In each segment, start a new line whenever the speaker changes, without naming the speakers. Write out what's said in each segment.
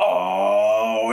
Oh,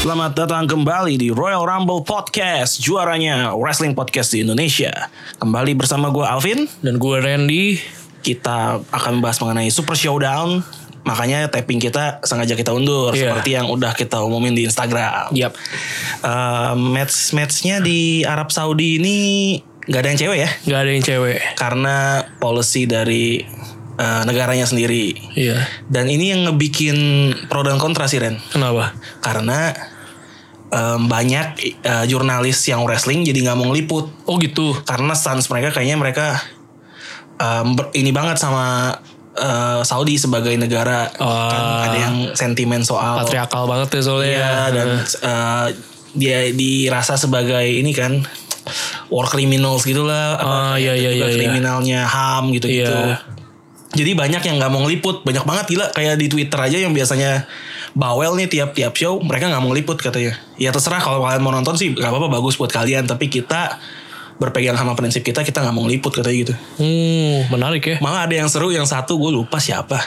Selamat datang kembali di Royal Rumble Podcast, juaranya wrestling podcast di Indonesia. Kembali bersama gue Alvin,
Dan gue Randy
kita akan bahas mengenai Super Showdown. Makanya tapping kita sengaja kita undur
Iya.
seperti yang udah kita umumin di Instagram.
Yap
Eh, match-matchnya di Arab Saudi ini nggak ada yang cewek ya
Gak ada yang cewek
karena policy dari eh, negaranya sendiri
Iya
dan ini yang ngebikin pro dan kontra sih Ren
Kenapa?
karena em, banyak eh, jurnalis yang wrestling jadi nggak mau ngeliput
Oh gitu
karena stance mereka kayaknya mereka em, ber- ini banget sama eh, Saudi sebagai negara kan
Ah.
ada yang sentimen soal
Patriarkal banget ya soalnya
Iya dan eh, dia dirasa sebagai ini kan war criminals gitulah apa
Ah, iya, iya, iya,
juga
iya.
kriminalnya ham gitu-gitu.
Iya.
Jadi banyak yang nggak mau ngeliput, banyak banget gila kayak di Twitter aja yang biasanya bawel nih tiap-tiap show mereka nggak mau ngeliput katanya. Ya terserah kalau kalian mau nonton sih nggak apa-apa bagus buat kalian tapi kita berpegang sama prinsip kita kita nggak mau ngeliput katanya gitu.
Hmm menarik ya
Malah ada yang seru yang satu gue lupa siapa.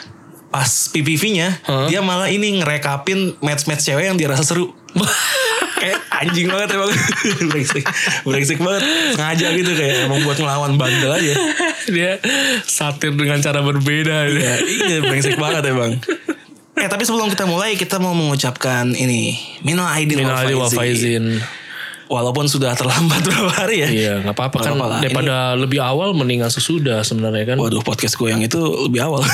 Pas PPV-nya
Hah?
dia malah ini ngerekapin match-match cewek yang dirasa seru. kayak anjing banget emang brengsek brengsek banget ngajar gitu kayak emang buat ngelawan bandel aja
Dia satir dengan cara berbeda
ya
ya.
iya brengsek banget emang eh tapi sebelum kita mulai kita mau mengucapkan ini minal aidin
Minal
wal
Aidin wal
faizin.
faizin
walaupun sudah terlambat berapa hari ya
Iya gak apa-apa
Nggak
kan
apa-apa lah.
Daripada lebih awal mendingan sesudah sebenarnya kan
waduh podcast gue yang itu lebih awal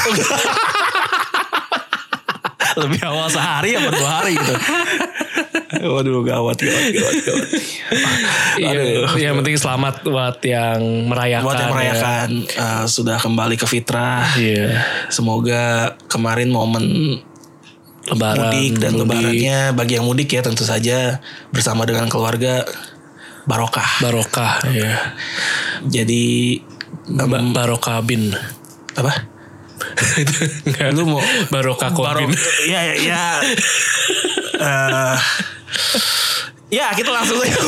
lebih awal sehari apa dua hari gitu waduh gawat gawat gawat gawat
Iya, Yang penting selamat buat yang merayakan
buat yang
ya.
merayakan eh, sudah kembali ke fitrah
Iya
Semoga kemarin momen
Lebaran
mudik dan
mudik,
lebarannya bagi yang mudik ya tentu saja bersama dengan keluarga barokah.
Barokah ya.
Jadi em,
Ba- barokah bin
apa?
Nggak.
Lu mau
Barokah Corbin.
ya ya ya. Eh, ya kita langsung saja.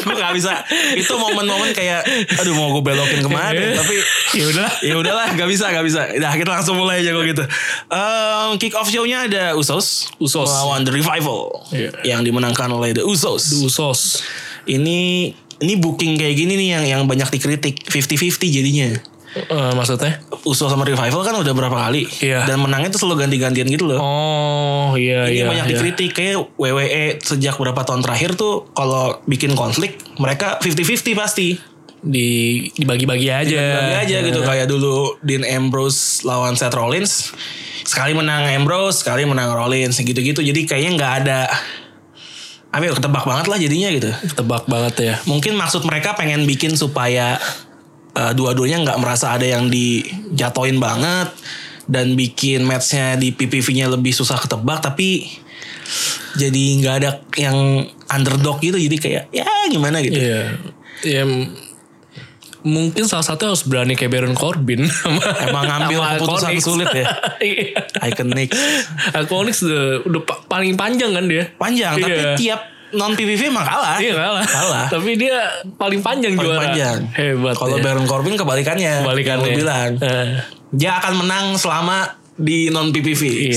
gue gak bisa. Itu momen-momen kayak aduh mau gue belokin kemana tapi
ya udah
ya udahlah nggak bisa nggak bisa nah kita langsung mulai aja kalau gitu Em, kick off show-nya ada Usos
Usos.
melawan The Revival
Iya.
yang dimenangkan oleh The Usos
Usos
ini ini booking kayak gini nih yang yang banyak dikritik 50-50 jadinya
Eh, maksudnya
Usos sama Revival kan udah berapa kali
Iya.
dan menangnya tuh selalu ganti-gantian gitu loh
oh iya
ini
iya
banyak
iya.
dikritik kayak WWE sejak berapa tahun terakhir tuh kalau bikin konflik mereka 50-50 pasti
di dibagi-bagi aja
Bagi aja
iya,
gitu kayak dulu Dean Ambrose lawan Seth Rollins sekali menang Ambrose sekali menang Rollins gitu-gitu jadi kayaknya nggak ada Amin ketebak banget lah jadinya gitu
tebak banget ya
mungkin maksud mereka pengen bikin supaya eh, dua-duanya nggak merasa ada yang dijatoin banget dan bikin matchnya di PPV-nya lebih susah ketebak tapi jadi nggak ada yang underdog gitu jadi kayak ya gimana gitu
iya ya m- mungkin salah satu harus berani kayak Baron Corbin
Emang ngambil keputusan sulit ya?
iya
iconic
Iconics udah, udah pa- paling panjang kan dia
panjang tapi
Iya.
tiap non PPV emang kalah
Iya kalah.
Kalah.
Tapi dia paling panjang
paling
juara.
panjang
Hebat.
kalau
ya.
Baron Corbin kebalikannya
Kebalikannya.
Yang lu bilang
Eh,
dia akan menang selama di non PPV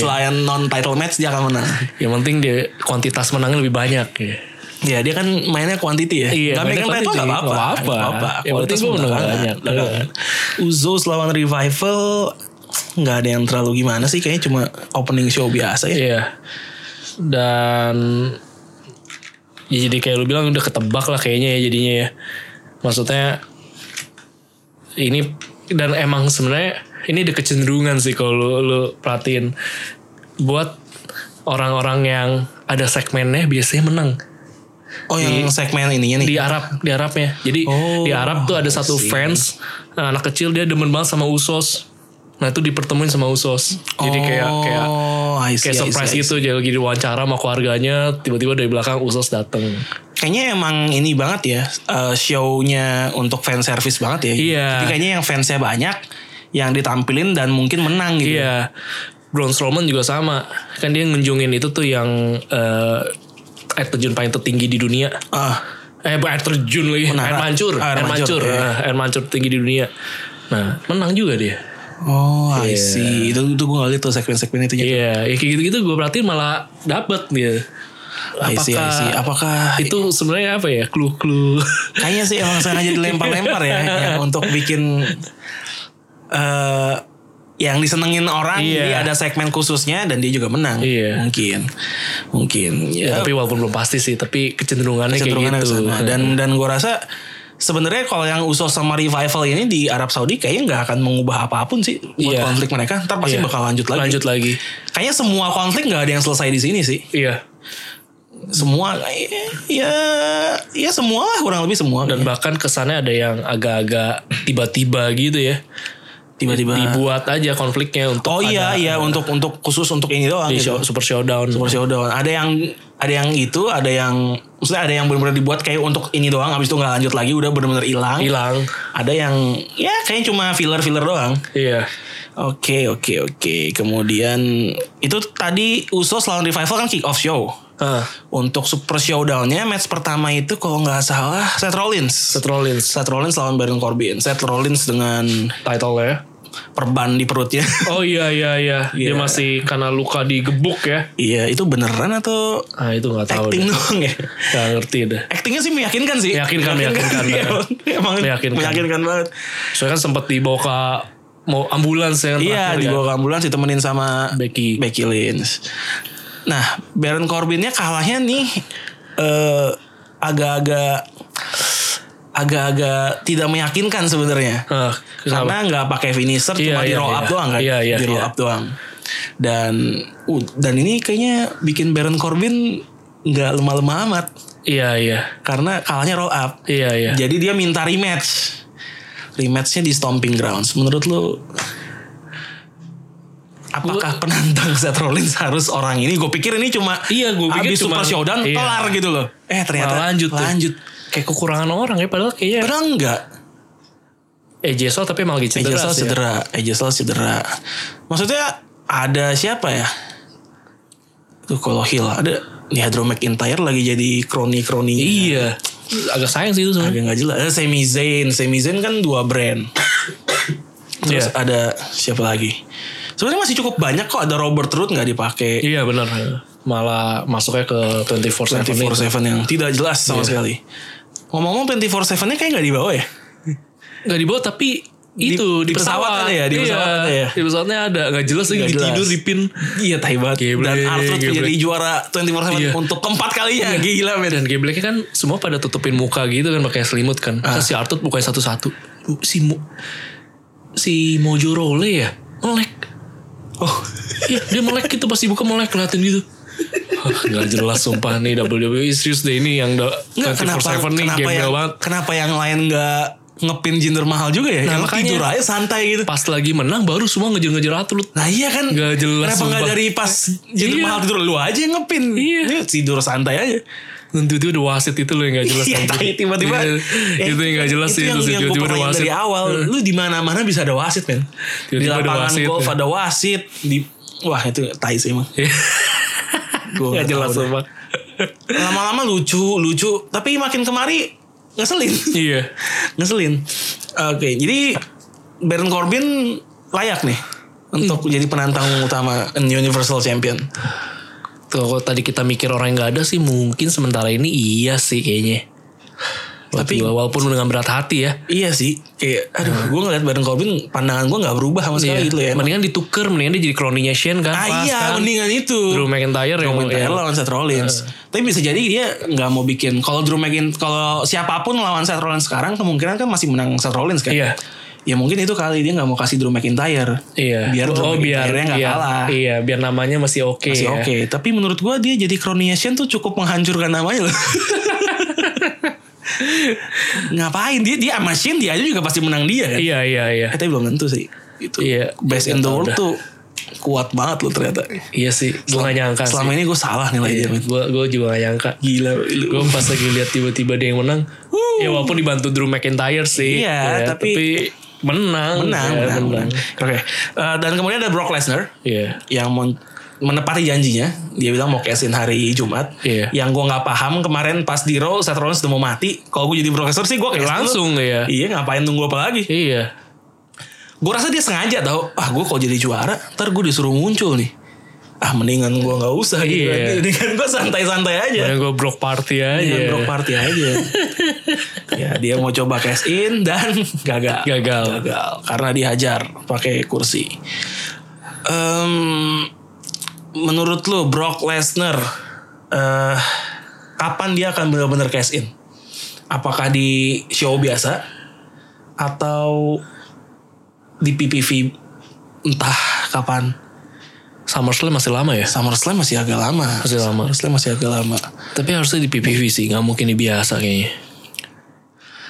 Iya.
selain non title match dia akan menang
yang penting dia kuantitas menangnya lebih banyak ya.
Ya dia kan mainnya quantity ya.
Iya,
Gak mainnya
mainnya
quantity.
quantity.
Gak apa-apa.
Nggak apa-apa. Yang
Kualitas
penting gua
menang
menang
banget.
banyak.
Menang banget. Usos lawan Revival. Gak ada yang terlalu gimana sih. Kayaknya cuma opening show biasa ya.
Iya. Dan ya jadi kayak lu bilang udah ketebak lah kayaknya ya jadinya ya. Maksudnya ini dan emang sebenarnya ini ada kecenderungan sih kalau lu, lu perhatiin buat orang-orang yang ada segmennya biasanya menang
Oh
Iya.
yang segmen ininya nih.
di Arab di Arabnya. Jadi
Oh,
di Arab tuh ada satu eh,
I see.
fans nah, anak kecil dia demen banget sama Usos. Nah itu dipertemuin sama Usos. Jadi kayak kayak
Oh, I see,
kayak
I see,
surprise
I see.
gitu. Jadi lagi diwawancara sama keluarganya, tiba-tiba dari belakang Usos dateng.
Kayaknya emang ini banget ya eh, show-nya untuk fan service banget ya.
Iya.
Jadi kayaknya yang fansnya banyak yang ditampilin dan mungkin menang gitu.
Iya. Braun Strowman juga sama. Kan dia ngunjungin itu tuh yang eh, air terjun paling tertinggi di dunia.
Ah,
Eh bu- air terjun lagi. Air
Menara.
mancur.
Air
Air,
mancur,
mancur.
iya.
Nah, air mancur tertinggi di dunia. Nah menang juga dia.
oh I see. Itu itu gue ngeliat tuh segmen-segmen itu.
Iya. Ya kayak gitu-gitu gue perhatiin malah dapet dia.
I see, I see. Apakah
itu sebenarnya apa ya clue-clue
Kayaknya sih emang sengaja dilempar-lempar ya, ya untuk bikin eh yang disenengin orang
Iya.
dia ada segmen khususnya dan dia juga menang.
Iya.
Mungkin. Mungkin.
Ya,
Ya,
tapi walaupun belum pasti sih tapi kecenderungannya
kecenderungannya
kayak
ke
gitu
sana. Dan dan gua rasa sebenarnya kalau yang usul sama revival ini di Arab Saudi kayaknya nggak akan mengubah apapun sih
Iya.
buat konflik mereka. Ntar pasti
Iya.
bakal lanjut lagi.
lanjut lagi
Kayaknya semua konflik nggak ada yang selesai di sini sih.
iya
Semua ya ya semua lah kurang lebih semua.
dan bahkan kesannya ada yang agak-agak tiba-tiba gitu ya
tiba-tiba
dibuat aja konfliknya untuk
Oh iya iya untuk untuk khusus untuk ini doang
di
gitu.
show- super showdown
Super Showdown. Ada yang ada yang itu, ada yang maksudnya ada yang benar-benar dibuat kayak untuk ini doang habis itu nggak lanjut lagi udah benar-benar hilang.
hilang
Ada yang ya kayaknya cuma filler-filler doang.
iya
Oke, oke, oke. Kemudian itu tadi Usos lawan Revival kan kick off show.
ah
Untuk Super Showdown-nya match pertama itu kalau nggak salah Seth Rollins.
Seth Rollins
Seth Rollins lawan Baron Corbin. Seth Rollins dengan
title ya
perban di perutnya.
oh iya iya iya dia
Iya.
masih karena luka digebuk ya
Iya, itu beneran atau
ah itu nggak tahu
acting
deh.
doang ya?
nggak ngerti deh
Actingnya sih meyakinkan sih.
Meyakinkan, meyakinkan.
Iya, emang meyakinkan,
Meyakinkan.
banget.
soalnya kan sempat dibawa ke mau ambulans ya kan
Iya,
terakhir kan.
dibawa ke ambulans ditemenin sama
Becky.
Becky Lynch. Nah, Baron Corbinnya kalahnya nih eh, agak-agak agak-agak tidak meyakinkan sebenarnya.
Ah, kenapa?
Karena nggak pakai finisher,
Iya,
cuma di
iya,
roll up
iya.
doang kan?
Iya, iya,
di roll
iya.
up doang. Dan uh, dan ini kayaknya bikin Baron Corbin nggak lemah-lemah amat
iya iya
karena kalahnya roll up.
iya iya
Jadi dia minta rematch. Rematchnya di Stomping Grounds. Menurut lu apakah penantang Seth Rollins harus orang ini? Gue pikir ini cuma
Iya, gua pikir
abis
cuma-
Super Showdown
iya.
kelar gitu loh. Eh ternyata
Malah lanjut tuh.
lanjut.
kayak kekurangan orang ya padahal kayaknya
Padahal enggak.
eh Jesel tapi emang lagi cedera
Ejel
sih ya.
cedera, Ejel cedera. Maksudnya ada siapa ya? Tuh kalau Hill ada ya Drew McIntyre lagi jadi kroni-kroni.
iya agak sayang sih itu sebenarnya
Agak nggak jelas. Ada Sami Zayn, Sami Zayn kan dua brand.
Iya.
Terus ada siapa lagi? Sebenarnya masih cukup banyak kok ada Robert Root nggak dipakai
iya benar malah masuknya ke 24 7
24/7 yang tidak jelas
Iya.
sama sekali. Ngomong-ngomong 24/7-nya kayak nggak dibawa ya?
nggak dibawa tapi
Di-
itu di,
di
pesawat,
pesawat ada ya, di
Iya,
pesawat ada ya.
di pesawatnya ada nggak jelas lagi
Nggak jelas.
tidur di pin
Iya tai banget.
Geblek,
Dan Arthur
geblek.
menjadi juara 24/7
Iya.
untuk keempat kalinya. Gila men.
dan gebleknya kan semua pada tutupin muka gitu kan pakai selimut kan
Ah.
terus si Artut bukain satu-satu Bu, si Mo, si Mojo Role ya melek
Oh.
Iya dia melek gitu pasti buka melek kelihatan gitu Hah, Gak jelas sumpah nih WWE serius deh ini yang da,
Nggak, kenapa
24/7 nih
kenapa ya?
gembel
yang,
banget
kenapa yang lain nggak ngepin jinder mahal juga ya?
Nah,
Yang
makanya-
tidur aja santai gitu.
Pas lagi menang baru semua ngejar-ngejar atlet
Nah iya kan
Nggak jelas,
Kenapa nggak
sumpah.
dari pas Jinder
Iya.
mahal tidur Lu aja yang ngepin
Iya.
Ini Tidur santai aja
Tentu tiba udah wasit itu loh yang gak jelas
Iya
anjing.
tai, tiba-tiba
Iya,
Ya,
Itu yang gak jelas sih
yang,
Itu sih
yang gue
tiba-tiba ada
pertanyaan
wasit
dari awal Lu di mana mana bisa ada wasit men Di
Tiba-tiba ada
lapangan
wasit,
golf
ya.
ada wasit di, Wah itu tai sih emang
Iya.
Gua
Nggak
nggak
jelas
tahu deh.
sumpah
Lama-lama lucu Lucu Tapi makin kemari Ngeselin
Iya
Ngeselin Oke jadi Baron Corbin Layak nih
Hmm.
Untuk jadi penantang utama Universal Champion
Tuh kalau tadi kita mikir orang yang gak ada sih Mungkin sementara ini iya sih kayaknya
Tapi-
tapi walaupun dengan berat hati ya
Iya sih, kayak aduh, gue ngeliat Baron Corbin pandangan gue nggak berubah sama
Hmm.
sekali
Iya.
gitu ya.
Mendingan ditukar Mendingan dia jadi kroninya Shane kan
ah
pas
iya,
kan.
mendingan itu.
Drew McIntyre
Drew
yang-
McIntyre
yang-
lawan Seth Rollins. Tapi bisa jadi dia nggak mau bikin. Kalau Drew McIntyre, kalau siapapun lawan Seth Rollins sekarang kemungkinan kan masih menang Seth Rollins kan.
Iya.
Ya mungkin itu kali dia nggak mau kasih Drew McIntyre.
Iya.
Biar
oh,
Drew
biar
McIntyre-nya nggak
iya,
kalah.
Iya, biar namanya masih oke.
Masih
ya.
oke. Tapi menurut gue dia jadi kroninya Shane tuh cukup menghancurkan namanya loh. Ngapain dia kan? dia sama Shane dia aja juga pasti menang dia kan.
Iya, iya, iya.
Eh, tapi belum tentu sih. gitu.
Iya.
Best in the world tuh kuat banget lo ternyata.
Iya sih, gue gak nyangka
Selama ini gue salah nilai dia. men.
Gue gue juga gak nyangka.
Gila lu.
Gue pas lagi lihat tiba-tiba dia yang menang.
Wuh.
Ya walaupun dibantu Drew McIntyre sih.
Iya,
ya,
tapi-
menang.
menang,
ya,
menang, menang. Oke. Eh, dan kemudian ada Brock Lesnar
Iya.
yang men- menepati janjinya. Dia bilang mau cash in hari Jumat.
Iya.
Yang gue nggak paham kemarin pas di Raw Seth Rollins udah mau mati. Kalau gue jadi Brock Lesnar sih gue cash dulu.
Langsung ya.
Iya ngapain nunggu apa lagi?
Iya.
Gue rasa dia sengaja tau. Ah gue kalau jadi juara, ntar gue disuruh muncul nih. Ah mendingan gue nggak usah gitu.
Iya.
Mendingan gue santai-santai aja.
Mending gue broke party
Mendingan
aja.
broke Iya. party aja. Iya. ya dia mau coba cash in dan gagal.
Gagal.
Gagal. Karena dihajar pakai kursi. Em, menurut lu Brock Lesnar eh, kapan dia akan benar-benar cash in? Apakah di show biasa atau di PPV entah kapan?
SummerSlam masih lama ya.
SummerSlam masih agak lama.
Masih lama.
SummerSlam masih agak lama.
Tapi harusnya di PPV sih, nggak mungkin di biasa kayaknya.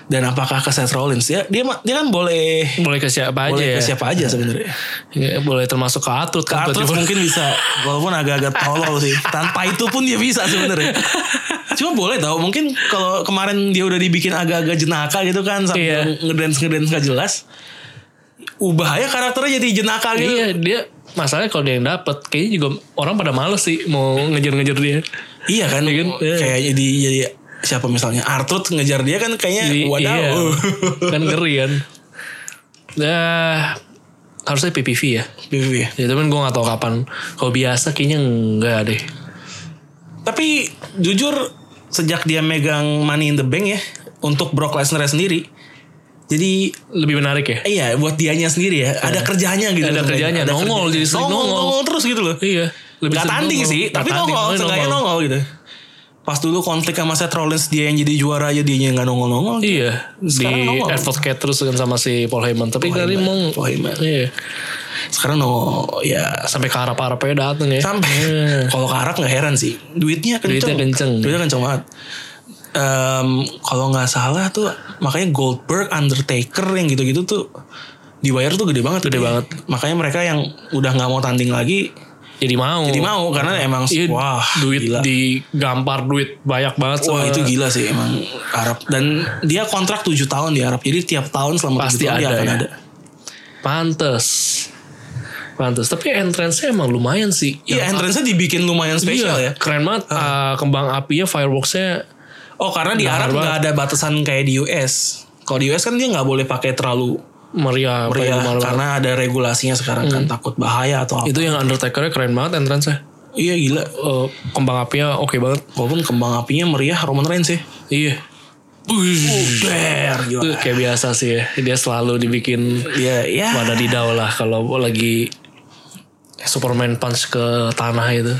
Dan apakah ke Seth Rollins ya? Dia ma- dia kan boleh
Boleh ke siapa aja
boleh
ya.
ke siapa aja sebenarnya.
Ya, boleh termasuk ke Atut.
Ke
kan,
Arthur
tiba-tiba.
mungkin bisa walaupun agak-agak tolol sih. Tanpa itu pun dia bisa sebenarnya. Cuma boleh tahu mungkin kalau kemarin dia udah dibikin agak-agak jenaka gitu kan
Iya.
sambil ngedance ngedance gak jelas. Ubah aja karakternya jadi jenaka gitu.
Iya, dia masalahnya kalau dia yang dapat kayaknya juga orang pada males sih mau ngejar-ngejar dia.
Iya kan?
Iya kan? Iya.
Kayak jadi jadi siapa misalnya Arthur ngejar dia kan kayaknya
Jadi,
wadaw.
iya. kan ngeri kan. Nah, harusnya PPV ya.
Iya.
Ya temen gue gak tahu kapan. Kalau biasa kayaknya enggak deh.
Tapi jujur sejak dia megang Money in the Bank ya untuk Brock Lesnar sendiri. Jadi
Lebih menarik ya.
eh, iya buat dianya sendiri ya, ada kerjanya gitu.
Iya. Ada kerjanya,
sebenarnya.
nongol, jadi sering nongol.
terus gitu loh.
Iya.
Lebih Gak
sering
tanding
nongol.
sih,
Nggak
tapi
tanding,
nongol,
tapi
seenggaknya nongol gitu. Pas dulu konflik sama Seth Rollins dia yang jadi juara aja dia yang nggak nongol-nongol.
Iya.
Sekarang
di
nongol.
advocate terus kan sama si Paul Heyman. Tapi
Paul
kali
Heyman,
mau.
Paul Heyman.
Iya.
Sekarang nongol ya
Sampai ke harap-harapnya dateng ya.
sampai
Iya.
kalau ke Arab nggak heran sih duitnya kenceng
Duitnya kenceng.
duitnya kenceng banget Em, kalau nggak salah tuh makanya Goldberg Undertaker yang gitu-gitu tuh dibayar tuh gede banget
Gede
Iya.
banget.
makanya mereka yang udah nggak mau tanding lagi
Jadi mau.
jadi mau karena emang
Oh. Iya,
wah
duit
gila.
digampar duit banyak banget sama
wah itu gila sih emang Arab dan dia kontrak 7 tahun di Arab jadi tiap tahun selama
Pasti
7 tahun dia
ada
akan
ya.
ada
Pantes. Pantes. Tapi entrance-nya emang lumayan sih. iya,
Iya, entrance-nya dibikin lumayan spesial ya.
Keren banget. Ah, kembang apinya, fireworks-nya.
Oh, karena di
Mahal
Arab
banget.
nggak ada batasan kayak di US. Kalau di US kan dia nggak boleh pakai terlalu
Meriah. paling
meriah
mahal banget.
Iya, karena ada regulasinya sekarang
Hmm.
kan takut bahaya atau apa.
Itu yang Undertaker-nya keren banget entrance-nya.
Iya gila.
Eh, kembang apinya oke banget.
Walaupun kembang apinya meriah Roman Reigns sih.
Iya. Hmm.
Udah,
Itu
gila.
kayak biasa sih ya. Dia selalu dibikin
Dia ya
pada didau lah. Kalau lagi Superman punch ke tanah itu.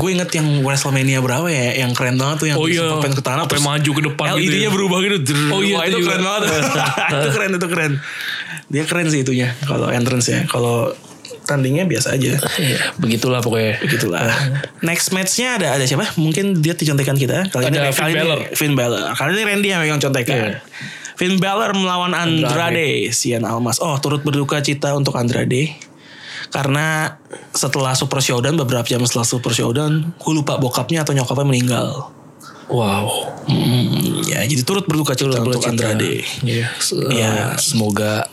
gue inget yang Wrestlemania berapa ya yang keren banget tuh yang
Oh iya.
Superman ke tanah
Sampai
terus
maju ke depan gitu
LED-nya
ya.
berubah gitu. Drrrr.
Oh iya,
Wah,
itu
itu
juga.
keren banget. itu keren itu keren. Dia keren sih itunya kalau entrance ya. Kalau tandingnya biasa aja.
Iya, begitulah pokoknya.
Begitulah. Next matchnya ada ada siapa? Mungkin dia di contekan kita. Kali ini
Ada Finn
kali ini-
Balor.
Finn Balor. Kali ini Randy yang megang contekan.
Iya.
Finn Balor melawan Andrade, Sian Almas. Oh, turut berduka cita untuk Andrade. Karena setelah Super Showdown beberapa jam setelah Super Showdown, gue lupa bokapnya atau nyokapnya meninggal.
Wow.
Hmm, ya jadi turut berduka cita untuk
Cita.
Andrade.
Iya. Se- eh,
Iya.
Semoga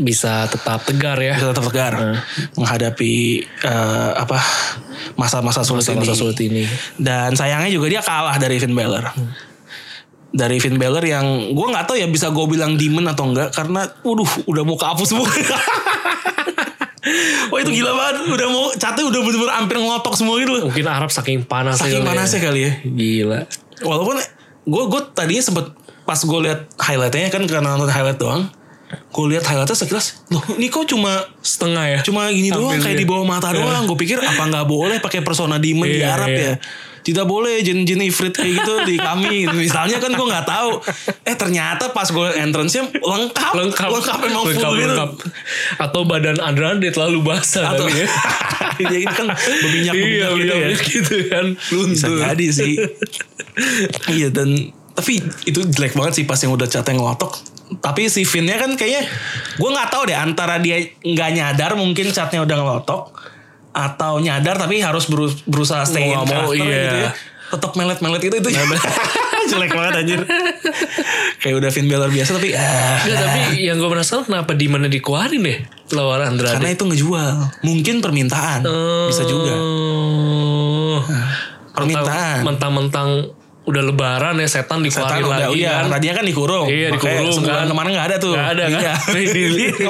bisa tetap tegar ya.
Bisa tetap tegar menghadapi eh, apa masa-masa sulit
Masa-masa
ini.
sulit ini.
Dan sayangnya juga dia kalah dari Finn Balor. Dari Finn Balor yang gue nggak tahu ya bisa gue bilang demon atau enggak karena waduh udah mau kehapus semua. Wah itu gila banget, udah mau catnya udah bener-bener hampir ngelotok semua gitu. loh.
Mungkin Arab saking panasnya.
Saking
kali ya.
panasnya kali ya.
Gila.
Walaupun gue gue tadinya sempet pas gue lihat highlightnya kan karena nonton highlight doang. Gue lihat highlightnya sekilas, loh ini kok cuma
Setengah ya.
cuma gini doang
Tampil
kayak
dia.
di bawah mata doang gue pikir apa nggak boleh pakai persona demon di
Iya,
Arab
iya.
ya tidak boleh jin-jin ifrit kayak gitu di kami misalnya kan gue nggak tahu eh ternyata pas gue entrance nya lengkap
lengkap
lengkap emang full gitu.
atau badan Andrade terlalu basah
atau
kali ya.
dia ini kan berminyak
iya,
berminyak gitu ya
bener-bener gitu kan
bisa
luntur
jadi sih iya dan tapi itu jelek banget sih pas yang udah catnya ngelotok tapi si Vinnya kan kayaknya gue nggak tahu deh antara dia nggak nyadar mungkin catnya udah ngelotok atau nyadar tapi harus beru- berusaha stay in
Nggak mau,
karakter
iya.
gitu ya. Tetap melet-melet gitu, itu itu. Jelek banget anjir. Kayak udah Finn Balor biasa tapi ah.
Nggak, tapi yang gue penasaran kenapa di mana dikeluarin deh lawan Andrade.
karena itu ngejual. Mungkin permintaan bisa juga. Nah,
Oh.
Permintaan.
Mentang-mentang udah lebaran ya setan
Setan
dikeluarin
udah
lagi
iya,
kan.
tadinya kan dikurung.
Iya
Makanya
dikurung
sebulan
kan.
kemarin nggak ada tuh.
Nggak ada kan.
Iya.
Nih, di,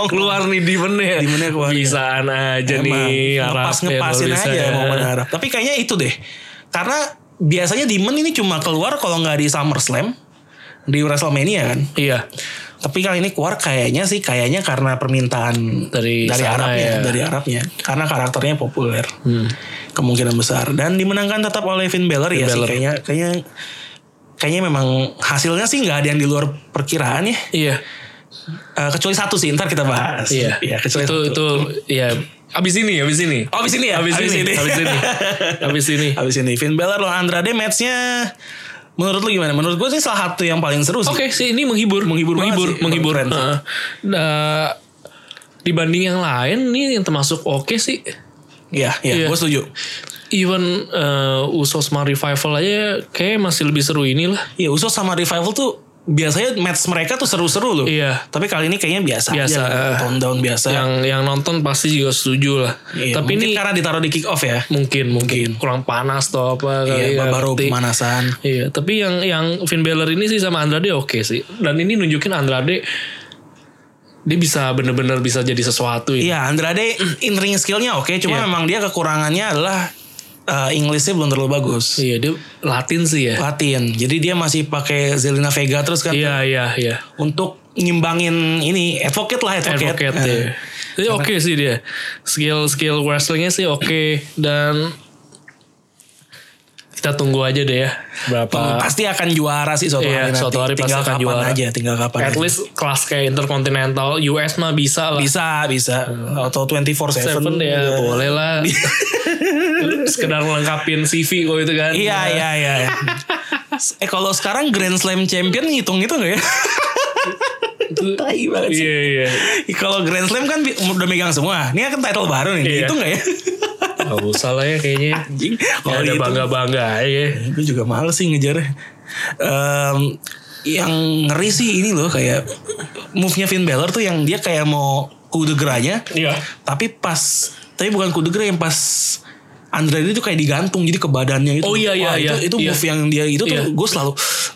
keluar nih di mana ya.
Di mana keluar, iya.
Bisaan aja
Emang,
nih.
ngepas
Arabnya
ngepasin
kalau bisa
aja
ya.
momen harap. Tapi kayaknya itu deh. Karena biasanya Demon ini cuma keluar kalau nggak di SummerSlam, di WrestleMania kan.
Iya.
Tapi kali ini keluar kayaknya sih kayaknya karena permintaan
Dari
dari
sana
Arabnya,
ya. Hmm.
dari Arabnya. Karena karakternya populer. Kemungkinan besar dan dimenangkan tetap oleh Finn Balor ya sih
Balor.
kayaknya kayaknya kayaknya memang hasilnya sih nggak ada yang di luar perkiraan ya.
Iya.
Eh, kecuali satu sih, ntar kita bahas.
Iya.
Iya, kecuali
itu
satu.
itu ya abis ini abis ini.
Oh, abis ini ya?
Abis, ini, abis ini, abis ini.
Habis ini Finn Balor lawan Andrade matchnya menurut lu gimana? Menurut gue sih salah satu yang paling seru sih.
Oke sih ini menghibur, menghibur,
banget
menghibur,
sih.
menghibur.
Keren sih.
Heeh. Nah, dibanding yang lain ini yang termasuk oke sih.
Iya, iya,
Iya.
gue setuju.
Even eh, Usos sama Revival aja kayak masih lebih seru inilah.
Iya, Usos sama Revival tuh biasanya match mereka tuh seru-seru loh.
Iya.
Tapi kali ini kayaknya biasa,
Biasa,
aja.
eh.
Tone down biasa.
Yang yang nonton pasti juga setuju lah.
Nah. Iya,
Tapi
mungkin
ini
karena ditaruh di kick off ya.
mungkin, mungkin kurang panas atau apa kali
Iya,
ya,
baru
ngerti.
pemanasan.
Iya, tapi yang yang Finn Balor ini sih sama Andrade oke sih. Dan ini nunjukin Andrade dia bisa bener-bener bisa jadi sesuatu ya.
Iya, Andrade in ring skillnya oke, cuma
Iya.
memang dia kekurangannya adalah eh, Inggrisnya belum terlalu bagus.
Iya, dia Latin sih ya.
Latin. Jadi dia masih pakai Zelina Vega terus kan
Iya, iya, iya.
untuk nyimbangin ini advocate lah advocate.
Advocate
Eh.
ya. Jadi oke sih dia. Skill skill wrestlingnya sih oke dan kita tunggu aja deh ya
Hmm,
berapa
pasti akan juara sih suatu
Iya,
hari nanti.
suatu hari pasti
tinggal
akan
kapan
juara.
aja, tinggal kapan
at
aja.
least kelas kayak intercontinental US mah bisa lah.
Bisa, bisa. Atau Iya, 24/7.
Seven ya boleh lah. Sekedar lengkapin CV kok itu kan.
Iya, iya, iya. iya. eh kalau sekarang Grand Slam Champion ngitung itu enggak ya? Tai banget sih.
Iya iya.
Kalau Grand Slam kan bi- udah megang semua. Ini kan title baru nih,
Iya.
dihitung nggak ya?
Gak usah lah ya kayaknya.
Anjing.
Gak ada
dihitung-
bangga bangga ya.
gue Eh, juga males sih ngejar yang ngeri sih ini loh kayak move-nya Finn Balor tuh yang dia kayak mau kudu geranya
Iya.
tapi pas tapi bukan kudu gera yang pas Andrade itu kayak digantung jadi ke badannya itu
Oh, iya, iya,
Wah,
iya,
itu, itu
iya.
move yang dia itu tuh
Iya.
gue selalu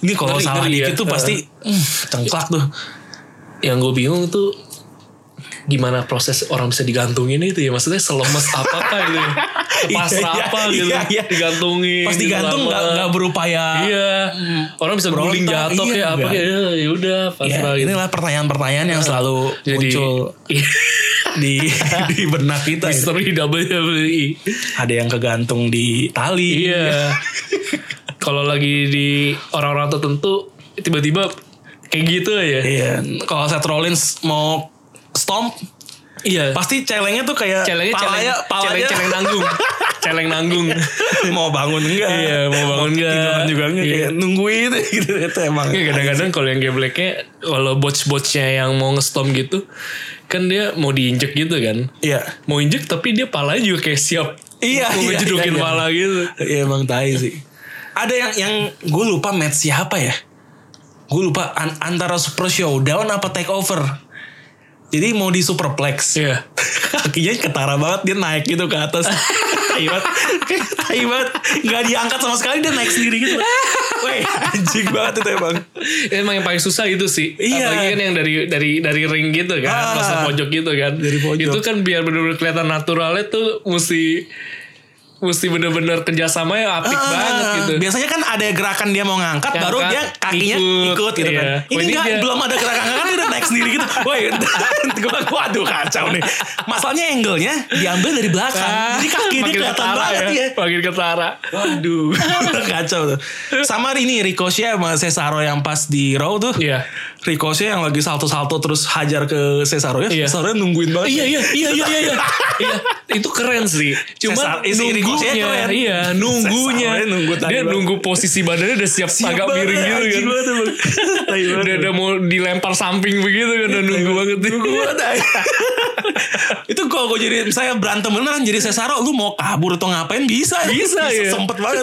ini kalau
Ngeri,
salah
ngeri,
dikit
ya.
tuh pasti mm, cengklak tuh
Yang gue bingung tuh gimana proses orang bisa digantungin itu ya maksudnya selemes apa kan gitu pasrah
Iya, iya,
apa gitu
iya, iya.
digantungin
pas
gitu
digantung
lama.
nggak nggak berupaya Ya,
iya orang bisa
Berontak,
guling jatuh
iya,
kayak apa
enggak.
kayak "Eh, ya udah
Ya,
pasrah gitu
inilah pertanyaan-pertanyaan yang selalu
jadi iya,
muncul di di benak kita ya.
misteri WWE
ada yang kegantung di tali
iya kalau lagi di orang-orang tertentu tiba-tiba kayak gitu ya
Iya, kalau Seth Rollins mau stomp,
iya
pasti celengnya tuh kayak
celengnya
palanya,
celeng, celeng,
palanya
celeng nanggung celeng nanggung
mau bangun enggak?
Iya, mau bangun enggak?
tiduran juga enggak?
Iya.
Kayak nungguin gitu itu emang.
Iya, kadang-kadang kalau yang gebleknya kalau botch-botchnya yang mau ngestom gitu kan dia mau diinjek gitu kan
Iya.
mau injek tapi dia palanya juga kayak siap
Iya,
mau
iya,
ngejedokin
iya, iya.
pala gitu
Iya emang tai sih. Ada yang yang gue lupa match siapa ya? Gue lupa an- antara Super Showdown apa Takeover. Jadi mau di Superplex.
iya
kakinya ketara banget dia naik gitu ke atas tai banget tai banget nggak diangkat sama sekali dia naik sendiri gitu weh anjing banget itu emang
Emang yang paling susah itu sih.
Iya.
Apalagi kan yang dari dari dari ring gitu
Ah.
kan, pas ke pojok gitu kan.
Dari pojok.
Itu kan biar benar-benar kelihatan naturalnya tuh mesti mesti benar-benar kerjasama yang apik
Ah,
banget gitu.
biasanya kan ada gerakan dia mau ngangkat
Ngangkat,
baru dia kakinya ikut,
ikut,
gitu
iya.
kan ini
Wah, ini
nggak
dia-
belum ada gerakan ngangkat dia udah naik sendiri gitu woi gue waduh kacau nih masalahnya angle-nya diambil dari belakang jadi kaki dia
Kan? Makin
kelihatan
ketara
banget Ah, ya,
Makin ketara.
Waduh, kacau tuh. Sama ini Ricochet sama Cesaro yang pas di Raw tuh.
Iya.
Ricochet yang lagi salto-salto terus hajar ke Cesaro ya.
Iya.
Cesaro nungguin banget.
Iya iya iya iya iya. iya. itu keren sih. Cuma
Cesar- isi
nunggunya,
Ricochet keren.
iya nunggunya.
Cesarnya nunggu tadi
dia
banget.
nunggu posisi badannya udah siap, agak miring gitu kan. Udah, udah mau dilempar samping begitu kan udah nunggu banget. Nunggu
itu kalau gue jadi saya berantem beneran jadi Cesaro lu mau kabur atau ngapain bisa
Bisa, ya.
sempet banget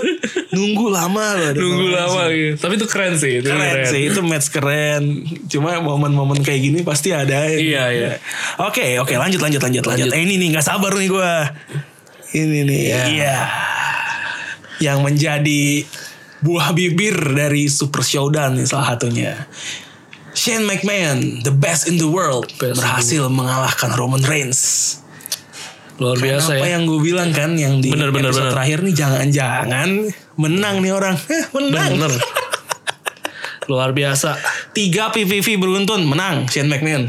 nunggu lama loh
nunggu lama gitu. Tapi itu keren sih. Itu
keren sih itu match keren cuma momen-momen kayak gini pasti ada ya.
Iya, iya.
oke oke lanjut lanjut lanjut lanjut eh, ini nih nggak sabar nih gue ini nih iya
ya.
yang menjadi buah bibir dari Super Showdown nih salah satunya Shane McMahon the best in the world
Best in the
berhasil mengalahkan Roman Reigns
Luar biasa
apa
ya.
yang gue bilang kan yang di
Bener, bener,
episode
bener.
terakhir nih jangan-jangan menang nih orang Eh, menang
Bener. Luar biasa.
Tiga PVV beruntun menang Shane McMahon.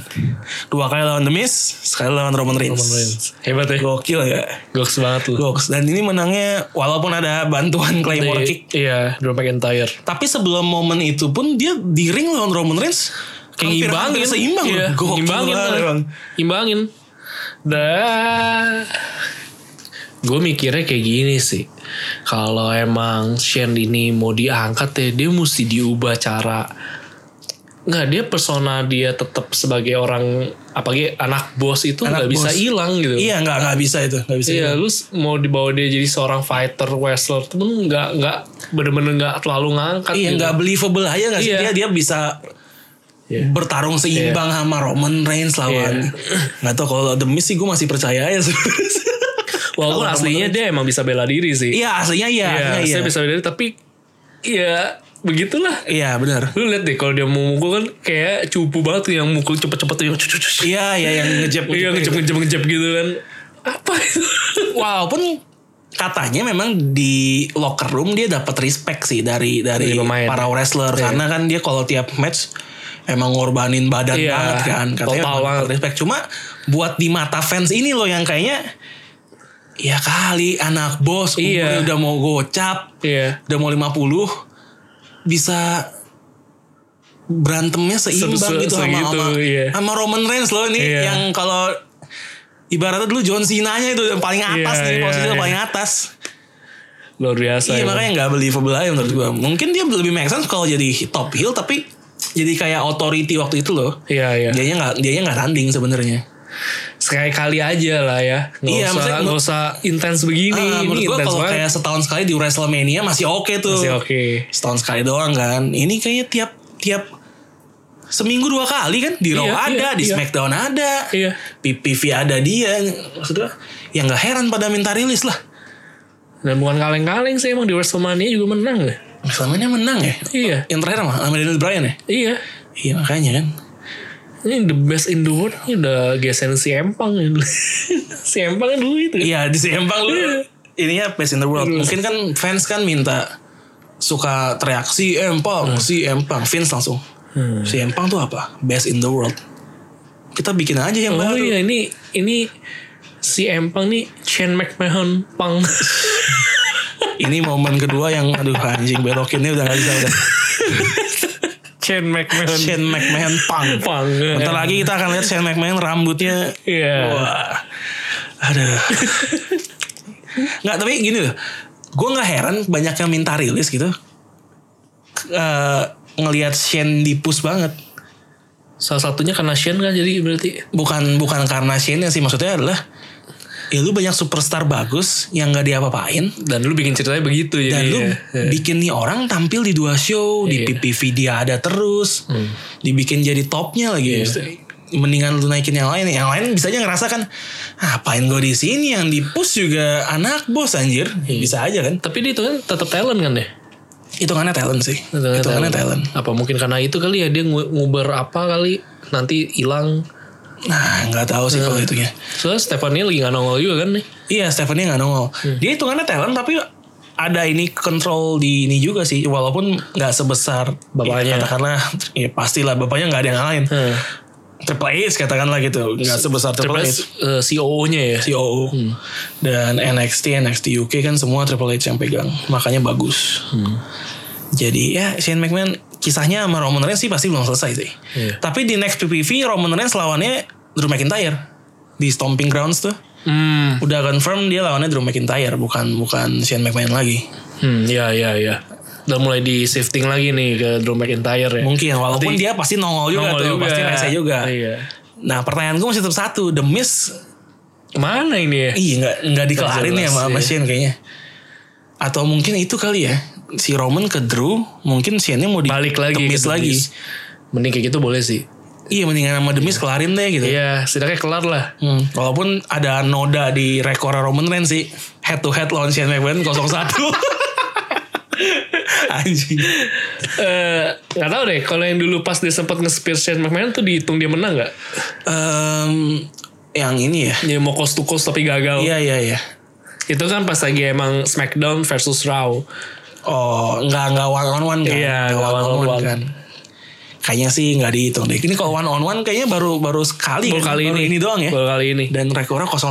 Dua kali lawan The Miz, sekali lawan Roman Reigns.
Roman Reigns. Hebat ya.
Gokil ya.
Goks banget lu.
Goks. Dan ini menangnya walaupun ada bantuan
Di-
Claymore kick.
Iya, Drew McIntyre.
Tapi sebelum momen itu pun dia di ring lawan Roman Reigns
Kayak
hampir-
ngimbangin.
hampir seimbang
iya,
loh. Gokil
Ngimbangin.
banget, Bang.
Ngimbangin. Dah. Gue mikirnya kayak gini sih. Kalau emang Shane ini mau diangkat ya, dia mesti diubah cara. Nggak, dia persona dia tetap sebagai orang, apalagi anak bos itu
Anak
nggak bisa
bos.
hilang gitu.
Iya nggak nggak bisa itu nggak bisa.
Iya, lu s- mau dibawa dia jadi seorang fighter, wrestler, tuh pun nggak nggak bener-bener nggak terlalu ngangkat.
Iya
gitu.
nggak believable aja nggak sih
Iya.
dia dia bisa
Iya. Iya.
bertarung seimbang sama Roman Reigns lawan. Nggak tahu kalau The Miz sih gue masih percaya ya. sebenarnya.
Walaupun aslinya dia emang bisa bela diri sih.
Iya aslinya iya. aslinya
saya
iya.
bisa bela diri tapi ya begitulah.
Iya benar.
Lu lihat deh kalau dia mau mukul kan kayak cupu banget tuh yang mukul cepet-cepet tuh yang cucu cucu.
Iya ya yang ngejep.
Iya ngejep ngejep ngejep gitu kan. Apa itu?
Walaupun katanya memang di locker room dia dapat respect sih dari dari
Dari pemain. Iya.
para wrestler karena kan dia kalau tiap match emang ngorbanin badan
Iya,
banget kan katanya
total
emang
banget.
dapat respect cuma buat di mata fans ini loh yang kayaknya ya kali anak bos
Iya.
umurnya udah mau gocap
Iya.
udah mau 50 bisa berantemnya seimbang
Se- se-
gitu sama
segitu,
sama,
iya.
sama Roman Reigns loh ini
Iya.
yang kalau ibaratnya dulu John Cena-nya itu yang paling atas
Iya,
nih
iya,
posisinya
iya.
paling atas.
Luar biasa.
Iya
emang.
makanya nggak believable aja menurut gua. Mungkin dia lebih make sense kalau jadi top heel tapi jadi kayak authority waktu itu loh.
Iya iya.
Dianya nggak dianya nggak tanding sebenarnya.
Sekali kali aja lah ya. Nggak
Iya,
usah
maksudnya-
nggak usah intens begini.
Ah,
ini
menurut gua
intens
kalau
banget.
kayak setahun sekali di WrestleMania masih oke tuh.
Masih oke.
setahun sekali doang kan. Ini kayaknya tiap tiap seminggu dua kali kan di Raw
Iya, iya,
ada, di
iya.
SmackDown ada,
Iya.
PPV ada dia. Maksudnya ya nggak heran pada minta rilis lah.
Dan bukan kaleng-kaleng sih emang di WrestleMania juga menang ya.
Selama menang ya.
Iya.
Yang terakhir mah sama Daniel Bryan ya.
Iya.
Iya makanya kan.
Ini the best in the world ini udah geserin si Empang ya dulu. si Empang kan dulu itu.
Iya di Sembang lu. Ininya best in the world.
Iya.
Mungkin kan fans kan minta suka teriak si
Iya.
empang, si empang. Vince langsung.
Hmm.
Si empang tuh apa? Best in the world. Kita bikin aja yang
Oh
baru.
iya ini ini si Empang nih Shane McMahon Pang.
Ini momen kedua yang aduh anjing belokinnya udah gak bisa udah.
Shane McMahon
Shane McMahon pang.
Pang.
Bentar lagi kita akan lihat Shane McMahon rambutnya.
Iya.
Wah. Aduh. Nggak tapi gini loh. Gue nggak heran banyak yang minta rilis gitu. Eh, ngelihat Shane dipus banget.
Salah satunya karena Shane kan jadi berarti
Bukan bukan karena Shane sih maksudnya adalah ya lu banyak superstar bagus yang nggak diapa-apain
dan lu bikin ceritanya begitu jadi.
dan lu
ya.
bikin nih orang tampil di dua show di
Iya.
PPV dia ada terus dibikin jadi topnya lagi Maksudnya, mendingan lu naikin yang lain yang lain bisa aja ngerasa kan "Ah, apain gue di sini yang di push juga anak bos anjir bisa aja kan
Tapi dia itu kan tetap talent kan ya?
hitungannya talent sih
Tetap
hitungannya talent.
Apa mungkin karena itu kali ya dia ngu- nguber apa kali nanti hilang.
nah nggak tahu sih kalau itunya
Soalnya Stephanie lagi nggak nongol juga kan nih.
iya Stephanie nggak nongol dia hitungannya talent tapi ada ini kontrol di ini juga sih walaupun nggak sebesar
Bapaknya.
ya, katakanlah ya pastilah bapaknya nggak ada yang lain
Hmm.
Triple H katakanlah gitu nggak sebesar
Triple
Triple H
H eh, COO-nya ya.
COO dan NXT NXT UK kan semua Triple H yang pegang makanya bagus jadi ya Shane McMahon kisahnya sama Roman Reigns sih pasti belum selesai sih
Iya.
tapi di next PPV Roman Reigns lawannya Drew McIntyre di Stomping Grounds tuh
Hmm.
Udah confirm dia lawannya Drew McIntyre bukan bukan Shane McMahon lagi.
Hmm, ya ya ya. Udah mulai di shifting lagi nih ke Drew McIntyre ya.
Mungkin walaupun
Berarti
dia pasti nongol juga
nongol
tuh, pasti rese juga.
Iya.
Nah, pertanyaan gue masih tetap satu, The Miz
Mana ini ya?
Iya nggak nggak dikelarin
Nggak
ya
jelas,
sama, sama
iya.
Shane kayaknya. Atau mungkin itu kali ya si Roman ke Drew, mungkin Shane-nya mau di
Balik lagi
The
ke
Miz
The
lagi.
Miz. Mending kayak gitu boleh sih.
Iya mendingan sama The Miz kelarin deh gitu.
Iya, setidaknya kelar lah.
Hmm, walaupun ada noda di rekor Roman Reigns sih head to head lawan Shane McMahon 01. Anjing.
Eh, nggak tahu deh. Kalau yang dulu pas dia sempat nge-spear Shane McMahon tuh dihitung dia menang nggak?
Em, yang ini ya.
Dia mau cost to cost tapi gagal.
Iya iya iya.
Itu kan pas lagi emang SmackDown versus Raw.
Oh, nggak nggak one on one kan?
Iya,
Nggak
nggak one on one.
Kayaknya sih nggak dihitung deh. Ini kalau one on one kayaknya baru baru sekali.
Baru
kan?
kali
baru
ini.
ini doang ya.
Baru kali ini.
Dan rekornya 01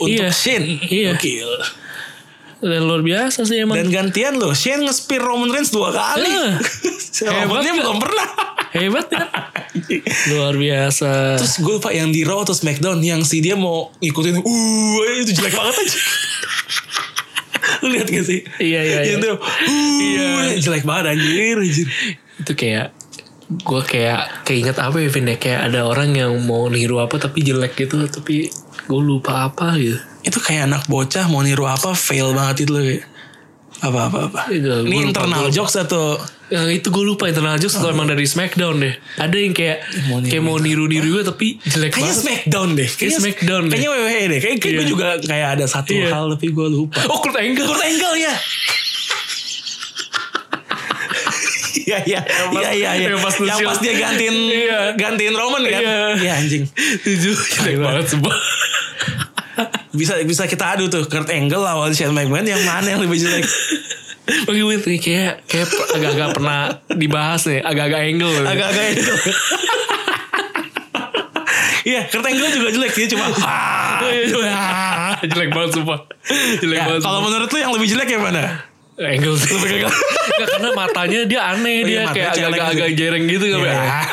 untuk
Iya.
Shane.
Iya.
Gokil.
Dan luar biasa sih emang.
Dan gantian loh, Shane nge-spear Roman Reigns dua kali.
Iya.
Si
Hebat
Romannya
nggak?
belum pernah.
Hebat kan? luar biasa.
Terus gue lupa yang di Raw atau Smackdown yang si dia mau ngikutin uh itu jelek banget aja. Lu lihat gak sih?
Iya, iya,
Yang
iya.
dia, "Uh," jelek banget anjir, anjir.
itu kayak gue kayak keinget apa ya Vin ya? kayak ada orang yang mau niru apa tapi jelek gitu tapi gue lupa apa gitu
Itu kayak anak bocah mau niru apa fail banget itu loh kayak. Apa apa apa.
Iya, gue
Ini
lupa,
internal
gue lupa.
jokes atau
Nah, itu gue lupa internal jokes atau emang dari Smackdown deh ada Oh. yang kayak
Mau niru.
kayak mau niru niru gue tapi jelek
Kayaknya
banget
Smackdown deh.
Kayaknya Smackdown deh.
Iya, Kayaknya WWE deh. Kayaknya kayak
Iya.
gue juga kayak ada satu
Iya.
hal tapi gue lupa.
oh Kurt Angle
Kurt Angle ya. Iya iya iya iya iya.
yang pas
Yang
Lucio-
pas dia gantiin
Iya.
gantiin Roman kan.
Iya.
Iya anjing.
tujuh jelek banget semua
Bisa bisa kita adu tuh Kurt Angle lawan Shane McMahon yang mana yang lebih jelek?
Oke, wait, nih, kayak kayak per- agak-agak pernah dibahas nih, agak-agak angle.
Agak-agak itu. Iya, Kurt Angle juga jelek dia cuma. "Wah."
Ah, jelek banget sumpah. Jelek
Ya,
banget.
kalau
sumpah.
menurut lu yang lebih jelek yang mana?
angle sih. Nggak, karena matanya dia aneh
Oh, iya,
dia
matanya
kayak
celeng
agak-agak
gitu.
jereng gitu kan.
Iya.
Ah.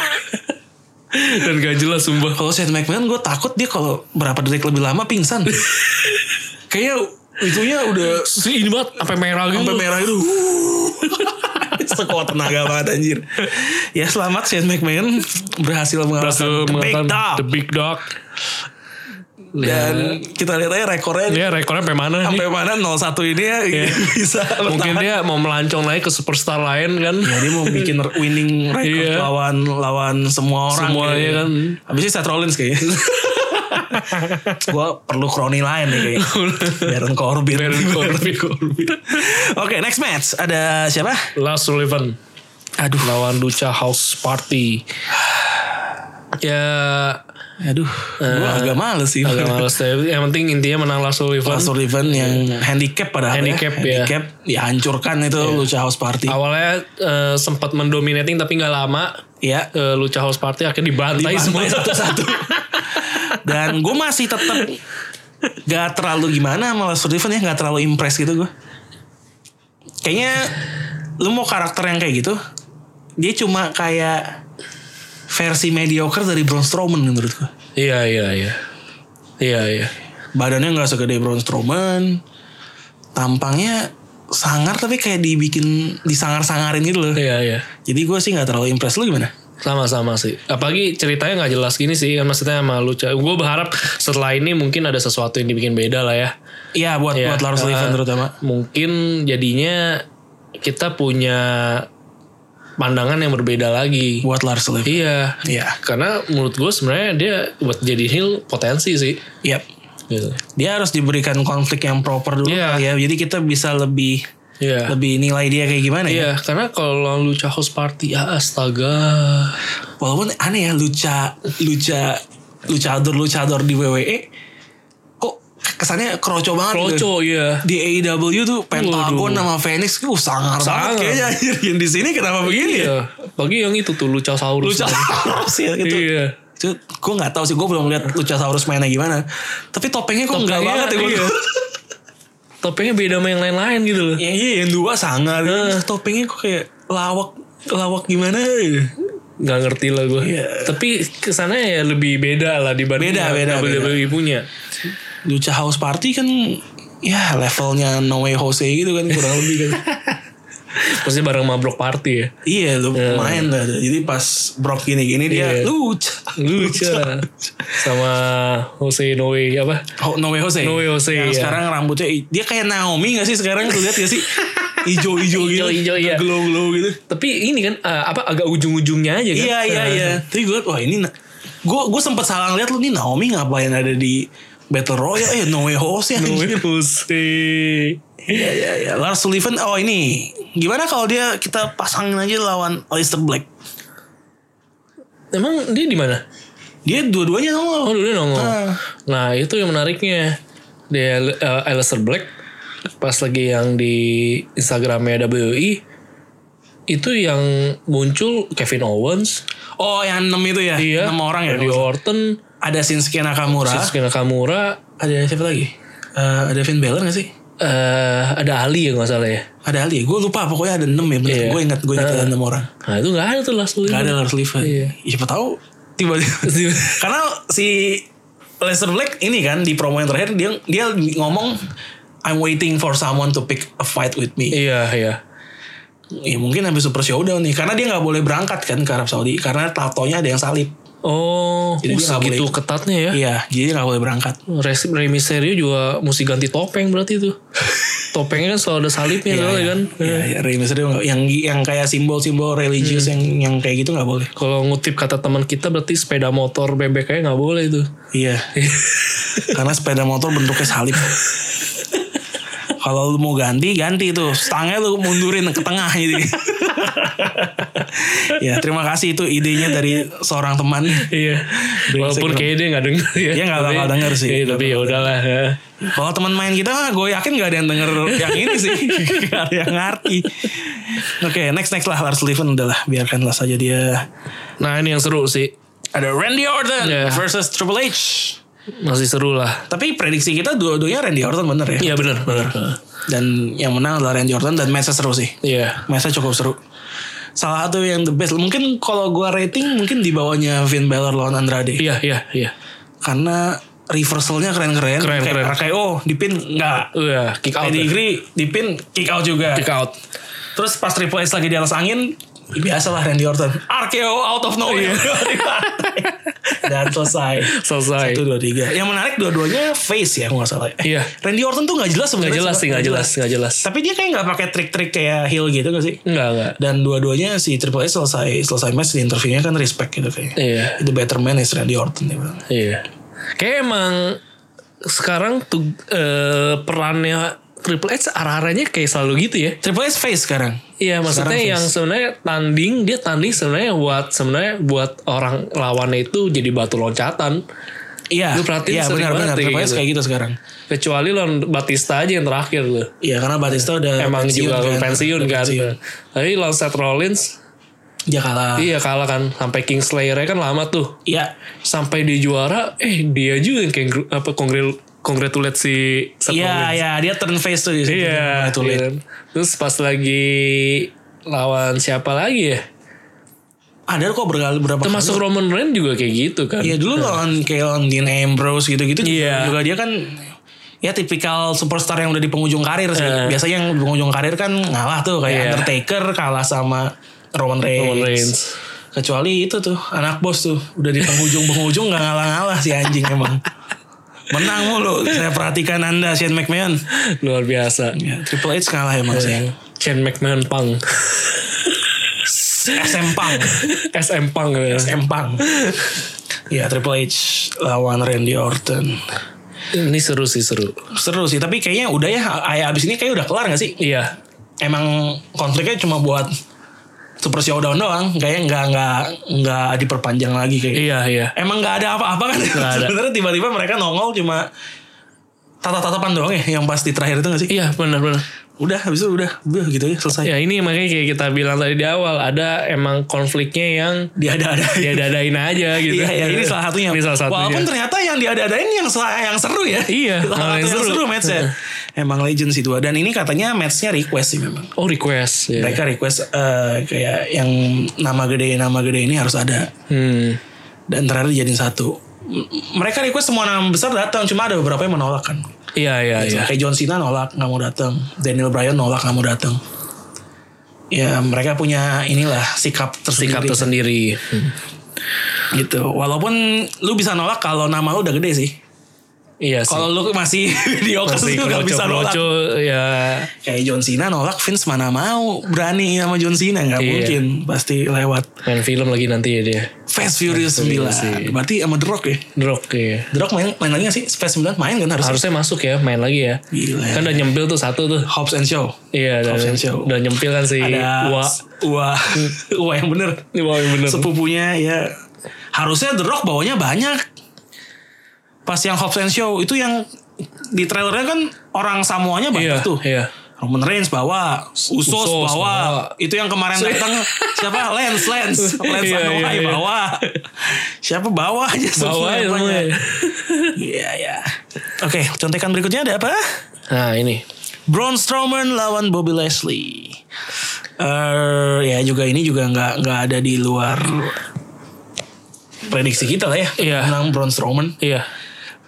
Dan gak jelas sumpah.
Kalau Shane McMahon gue takut dia kalau berapa detik lebih lama pingsan. Kayaknya itunya udah
Si ini banget sampai merah gitu.
sampai merah itu. Sekuat tenaga banget anjir. Ya selamat Shane McMahon berhasil
Berhasil
mengalahkan The
mengalahkan
Big Dog. Ya.
The Big Dog.
Dan kita lihat aja rekornya
Dia Ya, rekornya sampai mana nih?
sampai mana 01 ini ya bisa
Mungkin dia
bertahan.
mau melancong lagi ke superstar lain kan.
Ya, dia mau bikin winning record
Iya.
lawan lawan semua orang.
Semuanya
kayaknya.
kan.
Habisnya Seth Rollins kayaknya. gue perlu kroni lain nih kayaknya. Baron Corbin.
Baron Corbin.
Oke, next match ada siapa?
Last Sullivan. Aduh. Lawan Lucha House Party. ya Eh,
Aduh, gue agak males sih.
agak males deh. Yang penting intinya menang Last Sullivan.
Last Sullivan yang handicap pada
Handicap, Iya. ya.
handicap dihancurkan itu Lucha House Party.
Awalnya eh, sempat mendominating tapi nggak lama
Iya.
eh, Lucha House Party akhirnya dibantai, semua.
Dibantai Iya, satu-satu. Dan gue masih tetap gak terlalu gimana sama Last Sullivan ya, gak terlalu impress gitu gue. Kayaknya lu mau karakter yang kayak gitu, dia cuma kayak versi mediocre dari Braun Strowman menurut gue.
Iya iya iya. Iya iya.
badannya nggak segede Braun Strowman tampangnya sangar tapi kayak dibikin disangar-sangarin gitu loh
Iya iya.
jadi gue sih nggak terlalu impress lu gimana
Sama-sama sih. Apalagi ceritanya nggak jelas gini sih kan maksudnya sama Lucha. Gue berharap setelah ini mungkin ada sesuatu yang dibikin beda lah ya.
Iya buat
Ya,
buat Lars
eh,
Sullivan terutama
Mungkin jadinya kita punya pandangan yang berbeda lagi.
buat Lars Sullivan
Iya.
Iya.
Karena menurut gue sebenarnya dia buat jadi heel potensi sih.
Yap.
Gitu.
dia harus diberikan konflik yang proper dulu
Iya.
kali ya jadi kita bisa lebih
Iya.
lebih nilai dia kayak gimana ya
Iya, karena kalau Lucha House Party, ya astaga.
walaupun aneh ya luca luca lucador lucador di WWE kok kesannya kroco banget gitu.
Kroco, iya.
di AEW tuh Pentagon sama Phoenix uh sangar,
Sangar.
banget kayaknya anjir. yang di sini kenapa begini ya?
Iya. Bagi yang itu tuh Lucha Saurus.
Luchasaurus ya gitu.
Iya.
Itu gue nggak tahu sih gue belum lihat Luchasaurus mainnya gimana. Tapi topengnya kok enggak
Topengnya,
banget ya gue.
iya. Topengnya beda sama yang lain-lain gitu loh.
Iya iya yang dua sangar. Terus Topengnya kok kayak lawak lawak gimana? ya?
Gak ngerti lah gue.
Iya.
Tapi kesannya ya lebih beda lah dibanding
Beda,
yang
beda,
WWE punya.
Lucha House Party kan ya levelnya No Way Jose gitu kan kurang lebih kan.
Maksudnya bareng sama Block Party ya.
Iya lu main lah. Jadi pas Brock gini-gini
Iya.
dia Lucha.
Lucha. sama Jose Noe apa?
Ho, Oh, no Way Jose.
No Way Jose,
Yang
iya.
sekarang rambutnya i- dia kayak Naomi gak sih sekarang lu lihat gak sih? Ijo-ijo gitu.
Ijo-ijo, iya.
Glow-glow gitu.
Tapi ini kan eh, apa agak ujung-ujungnya aja kan.
Iya iya
Eh,
iya. Tapi gue wah ini gue gue sempet salah ngeliat lu nih Naomi ngapain ada di Battle Royale eh No Way Jose
No
anjing.
Way Jose.
Iya iya iya. Lars Sullivan oh ini gimana kalau dia kita pasangin aja lawan Aleister Black.
Emang dia di mana?
Dia dua-duanya
Oh
nongol.
dulu nongol.
Ah.
Nah itu yang menariknya dia eh, Aleister Black pas lagi yang di Instagramnya WI itu yang muncul Kevin Owens,
Oh yang enam itu ya.
dia,
Enam orang ya.
Randy Orton,
Ada Shinsuke Nakamura.
Iya. Shinsuke Nakamura,
Ada siapa lagi? Eh, ada Finn Balor gak sih?
eh, ada Ali ya nggak salah ya.
Ada Ali. Gue lupa pokoknya ada enam ya. Bener.
Iya.
Gue ingat gue ingat ada enam orang.
Nah itu nggak ada tuh last Lee.
Gak ada Lars Sullivan.
Iya.
Ya, Siapa tahu tiba-tiba
Tiba-
Karena si Lester Black ini kan di promo yang terakhir dia dia ngomong I'm waiting for someone to pick a fight with me.
Iya iya.
Ya mungkin habis Super Showdown nih karena dia nggak boleh berangkat kan ke Arab Saudi karena tatonya ada yang salib.
Oh, uh,
Jadi dia nggak
segitu
boleh-
ketatnya ya.
Iya, jadi dia nggak boleh berangkat.
Res- Rey Mysterio juga mesti ganti topeng berarti tuh. Topengnya kan selalu ada salibnya soalnya kan.
Iya, ya, Rey Mysterio nggak- yang yang kayak simbol-simbol religius yang yang kayak gitu nggak boleh.
Kalau ngutip kata teman kita berarti sepeda motor bebeknya nggak boleh itu.
Iya. Karena sepeda motor bentuknya salib. Kalau lu mau ganti, ganti tuh. Stangnya lu mundurin ke tengah jadi. ya, terima kasih itu idenya dari seorang teman.
Iya. Walaupun kayaknya dia nggak denger ya.
Dia nggak
Tapi-
bakal denger sih.
Iya, tapi ya udahlah. ya.
Kalau teman main kita mah gue yakin gak ada yang denger yang ini sih. gak ada yang ngerti. Oke, next next lah Lars Sullivan udahlah biarkanlah saja dia.
Nah ini yang seru sih.
Ada Randy Orton
Iya.
versus Triple H.
Masih seru lah.
Tapi prediksi kita dua-duanya Randy Orton bener ya.
Iya benar benar.
Dan yang menang adalah Randy Orton dan matchnya seru sih.
Iya.
Mesa cukup seru. Salah satu yang the best. Mungkin kalau gua rating mungkin di bawahnya Finn Balor lawan Andrade.
Iya iya iya.
Karena reversalnya keren-keren.
Keren,
Kayak
keren.
RKO di pin enggak.
Iya. Kick out. ya.
Pedigree di pin kick out juga.
Kick out.
Terus pas Triple H lagi di atas angin biasalah Randy Orton. RKO out of nowhere. Dan selesai.
Selesai.
Satu dua tiga. Yang menarik dua-duanya face ya kalau nggak salah.
Iya.
Randy Orton tuh nggak jelas sebenarnya.
Nggak jelas sih nggak jelas nggak jelas.
Tapi dia kayak nggak pakai trik-trik kayak heel gitu gak sih?
Nggak nggak.
dan dua-duanya si Triple H selesai selesai match di interviewnya kan respect gitu kayaknya.
Iya.
The better man is Randy Orton ya, dia bilang.
Iya. Kayak emang sekarang tuh eh, perannya Triple H arah-arahnya kayak selalu gitu ya.
Triple H face sekarang.
Iya maksudnya
Sekarang
yang sebenarnya tanding dia tanding sebenarnya buat sebenarnya buat orang lawannya itu jadi batu loncatan.
Iya.
Lu perhatiin
Iya
sering banget
benar-benar
kayak
Triple H
gitu.
kayak gitu sekarang.
Kecuali lawan Batista aja yang terakhir tuh.
Iya karena Batista udah
Emang
pensiun
juga
kan.
pensiun
Udah
kan.
pensiun. Ah.
Tapi lawan Seth Rollins
Dia kalah.
iya kalah kan sampai Kingslayer kan lama tuh.
Iya.
Sampai di juara eh dia juga yang kengru- apa kongrel congratulate si Seth
Iya
Rollins.
iya dia turn face tuh di situ.
Iya.
Betul.
iya. Terus pas lagi lawan siapa lagi ya?
Ada kok berkali berapa kali.
Termasuk Roman Reigns juga kayak gitu kan.
Iya dulu lawan kayak lawan Dean Ambrose gitu-gitu juga-
Iya.
juga dia kan ya tipikal superstar yang udah di penghujung karir sih. Biasanya yang di penghujung karir kan ngalah tuh kayak
Iya.
Undertaker kalah sama Roman Reigns.
Roman Reigns.
Kecuali itu tuh anak bos tuh udah di penghujung-penghujung nggak ngalah-ngalah si anjing emang. Menang mulu. Saya perhatikan Anda Shane McMahon.
Luar biasa.
Ya, Triple H kalah emang sih.
Shane McMahon Pang. Iya.
SM Punk.
SM Pang. ya.
SM Punk. Ya Triple H lawan Randy Orton.
Ini seru sih seru.
Seru sih, tapi kayaknya udah ya, kayak abis ini kayak udah kelar gak sih?
Iya.
Emang konfliknya cuma buat Super Showdown doang, kayaknya nggak nggak nggak diperpanjang lagi kayak. gitu.
Iya iya.
Emang nggak ada apa-apa kan?
Nggak ada.
Sebenarnya tiba-tiba mereka nongol cuma tatap-tatapan doang ya, yang pas di terakhir itu gak sih?
Iya benar benar.
Udah, habis itu udah, udah gitu ya
Ya
selesai.
ini makanya kayak kita bilang tadi di awal ada emang konfliknya yang
Dia ada ada.
dia dadain aja gitu.
Iya, iya, ini salah satunya.
Ini salah satunya.
Walaupun ternyata yang diada-adain yang sa- yang seru ya.
Iya, malah
salah
yang
satu yang
seru.
seru matchnya. Emang legend sih dua. Dan ini katanya matchnya request sih memang.
oh request. Ya.
mereka request eh, kayak yang nama gede nama gede ini harus ada
Hmm.
dan terakhir dijadiin satu m- mereka request semua nama besar datang cuma ada beberapa yang menolak kan
Iya iya iya.
kayak John Cena nolak nggak mau datang Daniel Bryan nolak nggak mau datang ya mereka punya inilah sikap
Sikap tersendiri.
tersendiri Hmm. gitu walaupun lu bisa nolak kalau nama lu udah gede sih
Iya sih.
kalau lu masih di Okas
Masih
lu nggak bisa nolak
kroco-kroco, ya
kayak Eh, John Cena nolak Vince mana mau berani sama John Cena nggak
Iya.
mungkin pasti lewat
main film lagi nanti ya dia.
Fast Furious 9 berarti sama The Rock ya
Drop ya.
The Rock main, main lagi nggak sih Fast 9 main kan harusnya
Harusnya masuk ya, main lagi ya.
Gila.
Kan udah nyempil tuh satu tuh.
Hobbs and Shaw
Iya, udah,
Absen show.
udah nyempil kan si
ada
Wa.
Wah Wah yang bener
Wah, yang bener.
sepupunya ya harusnya The Rock bawanya banyak pas yang Hobbs and Shaw itu yang di trailernya kan orang Samoanya
Iya,
banyak tuh ya.
iya.
Roman Reigns bawa Usos,
Usos
bawa.
bawa.
itu yang kemarin datang siapa Lance Lance Lance
Iya,
Anoa'i
iya, iya.
bawa siapa bawa aja
Bawa
semuanya
ya
banyak.
semuanya.
iya ya oke contekan berikutnya ada apa
Nah, ini.
Braun Strowman lawan Bobby Leslie. Eh ya juga ini juga nggak nggak ada di luar prediksi kita lah ya.
Iya.
Menang Braun Strowman
Iya.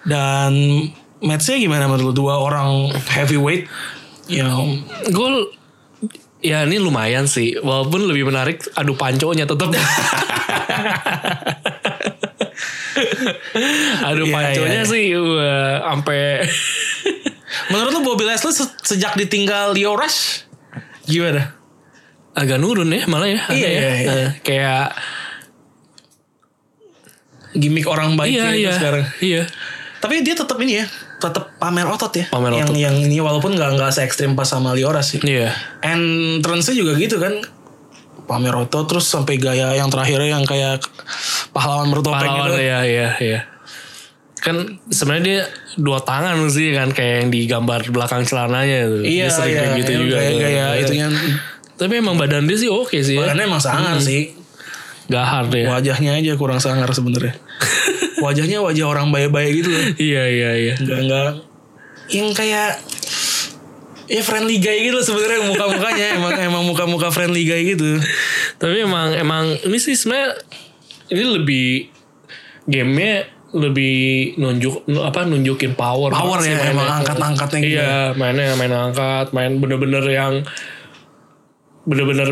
dan matchnya gimana menurut lu? dua orang heavyweight yang
Gol ya ini lumayan sih. Walaupun lebih menarik adu panconya tetap. adu
Iya,
panconya
iya, iya.
sih wah, sampai
menurut lu Bobby Leslie se- sejak ditinggal Leo Rush gimana?
agak nurun ya malah ya. ada
Iya,
ya.
iya, iya.
Eh, kayak
Gimik orang baik
iya
itu
iya.
sekarang.
Iya.
Tapi dia tetap ini ya, tetap pamer otot ya.
Pamer
yang
otot.
yang ini walaupun nggak nggak se ekstrim pas sama Leo Rush sih.
Iya.
entrance-nya juga gitu kan pamer otot terus sampai gaya yang terakhirnya yang kayak pahlawan bertopeng
Pahlawan
gitu.
ya iya iya. Kan sebenarnya dia dua tangan sih kan kayak yang di gambar belakang celananya itu. dia
Iya,
sering
iya,
kayak gitu juga.
Gaya, gaya itunya.
Tapi emang badan dia sih oke sih ya.
Badannya emang sangar sih.
Gak hard ya.
Wajahnya aja kurang sangar sebenarnya. Wajahnya wajah orang bayi-bayi gitu loh.
Iya iya iya.
Enggak enggak yang kayak ya friendly guy gitu loh sebenarnya muka-mukanya emang emang muka-muka friendly guy gitu.
Tapi emang emang ini sih sebenarnya ini lebih gamenya lebih nunjuk nu- apa nunjukin power
Power
banget sih
ya,
mainnya.
emang angkat-angkatnya gitu.
iya mainnya main angkat main bener-bener yang bener-bener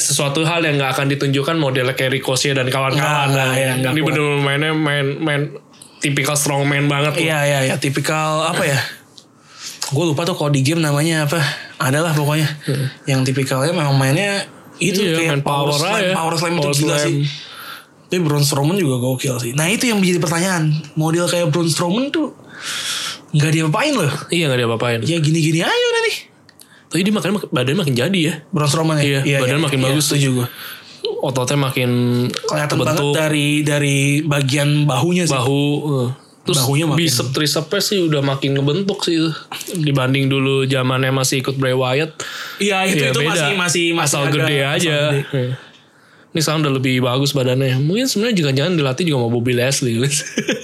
sesuatu hal yang nggak akan ditunjukkan model kayak Ricochet dan kawan-kawan
Nggak,
lah.
nggak, ya, nggak
ini
kuat.
bener-bener mainnya main main tipikal strongman banget tuh.
Iya iya iya tipikal apa ya? Gue lupa tuh kalau di game namanya apa? Adalah pokoknya. Yang tipikalnya memang mainnya itu
Hmm. Iya,
kayak
main power
slam,
aja.
gitu ya, power slam
Power
itu gila
slam.
sih. Tapi Braun Strowman juga gokil sih. Nah itu yang menjadi pertanyaan. Model kayak Braun Strowman tuh nggak diapain loh.
Iya nggak ada apa-apain.
Ya gini-gini aja udah nih.
Tapi dia makin badan makin jadi ya.
Braun Strowman ya.
Iya, badan makin bagus.
setuju gue.
Ototnya makin
Kelihatan banget
terbentuk.
dari dari bagian bahunya sih.
bahu eh. terus
Bahunya makin-
bicep tricepnya sih udah makin ngebentuk sih itu. dibanding dulu zamannya masih ikut Bray Wyatt
Iya itu
ya
itu
beda.
masih masih masih
asal
agak-
gede
asal
aja
gede.
Eh. ini sekarang udah lebih bagus badannya mungkin sebenarnya juga jangan dilatih juga sama Bobby Leslie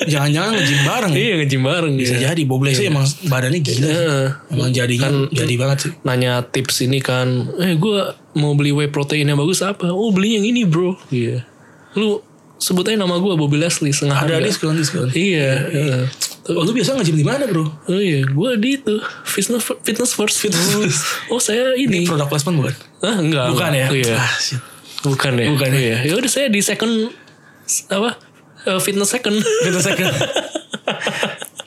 Jangan-jangan nge-gym bareng. ya.
iya nge-gym bareng
Bisa
ya.
jadi Bob Leslie emang badannya gila.
Eh,
Emang jadinya jadi banget sih.
nanya tips ini kan eh gue mau beli whey protein yang bagus apa oh beli yang ini bro iya lu sebut aja nama gue Bobby Leslie setengah
Ada
harga.
diskon diskon.
iya eh.
Oh, lu biasa ngejim di mana bro?
Oh iya, gue di itu fitness fitness first fitness. First. Oh saya ini.
Ini produk placement bukan?
Ah enggak.
Bukan ya?
enggak. Iya.
Ah, shit.
Bukan ya.
Bukan ya.
Iya. Ya udah saya di second s- apa? eh, fitness second.
Kita second. Gitu,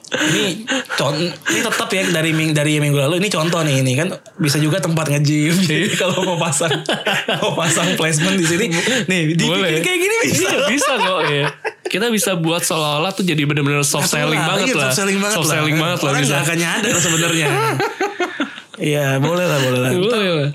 ini contoh ini tetap ya dari ming dari minggu lalu ini contoh nih ini kan bisa juga tempat ngejim
Iya.
jadi kalau mau pasang mau pasang placement di sini nih dibikin
Boleh.
kayak gini bisa
Iya bisa kok ya. Kita bisa buat seolah-olah tuh jadi bener-bener soft selling
Itulah,
banget
iya,
lah.
soft selling banget
Soft
lah
selling banget lah
orang
bisa.
nggak akan nyadar sebenarnya iya boleh lah boleh lah
Boleh lah.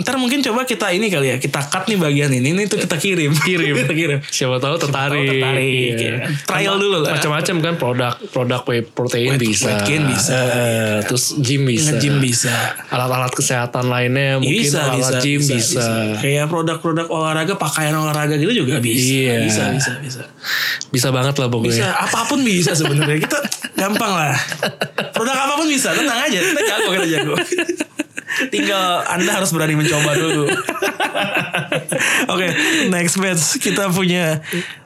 ntar mungkin coba kita ini kali ya kita cut nih bagian ini ini tuh kita kirim
Kirim.
kita kirim
Siapa tahu tertarik.
tertarik,
Iya.
ya. Trial dulu lah.
Macam-macam kan produk produk whey protein
Whey-
bisa.
whey gain bisa.
Eh, terus gym bisa.
Nge-gym bisa.
alat-alat kesehatan lainnya mungkin alat gym bisa, bisa.
Kayak produk-produk olahraga, pakaian olahraga gitu juga bisa.
Iya.
Bisa, bisa, bisa.
banget lah
Bisa,
pokoknya
apapun bisa sebenarnya. Kita gampang lah. Produk apapun bisa, tenang aja. Kita jago, kita jago. Tinggal Anda harus berani mencoba dulu. Oke, next match kita punya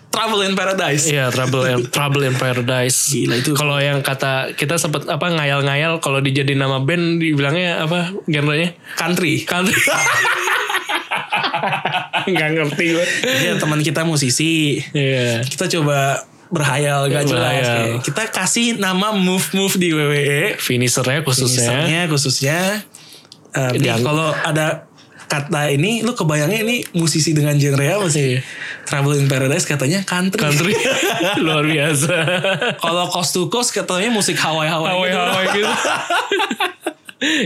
Trouble in Paradise.
Iya Trouble in, Trouble in Paradise.
Gila, itu-
Kalau yang kata kita sempat apa ngayal-ngayal kalau dijadiin nama band dibilangnya apa genrenya?
Country.
Country. Enggak ngerti gue.
Iya teman kita musisi.
Iya.
Kita coba berhayal gak jelas.
Berhayal.
Kayak, Kita kasih nama move-move di E. WWE.
Finishernya khususnya.
Misalnya khususnya eh, ini
Yang-
kalau ada kata ini lu kebayangnya ini musisi dengan genre apa sih?
Iya.
Trouble in Paradise katanya country.
Country. Luar biasa.
kalau coast to coast katanya musik Hawaii-Hawaii. gitu.
Hawaii-hawaii gitu.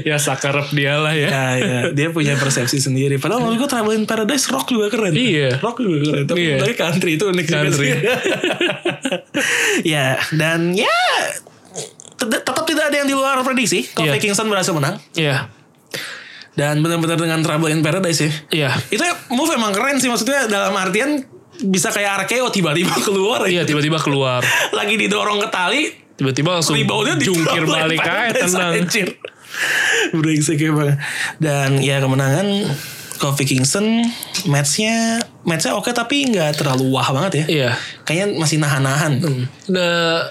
ya sakarep dia lah ya.
Ya, ya. Dia punya persepsi sendiri. Padahal menurut gue Trouble in Paradise rock juga keren.
Iya.
Rock juga keren. Tapi
Iya.
dari country itu unik juga
Country.
sih. ya, dan ya tet- tetap tidak ada yang di luar prediksi. Kalau
Iya.
Kingston berhasil menang.
Iya.
Dan benar-benar dengan Trouble in Paradise ya.
Iya.
Itu move emang keren sih. Maksudnya dalam artian bisa kayak RKO tiba-tiba keluar.
Iya tiba-tiba keluar.
Lagi didorong ke tali.
Tiba-tiba langsung
Reboundnya di
jungkir
Trouble in
balik aja
Paradise,
tenang.
anjir. Brengsek emang. Dan ya kemenangan Kofi Kingston matchnya matchnya oke tapi nggak terlalu wah banget ya.
Iya.
Kayaknya masih nahan-nahan.
Nah,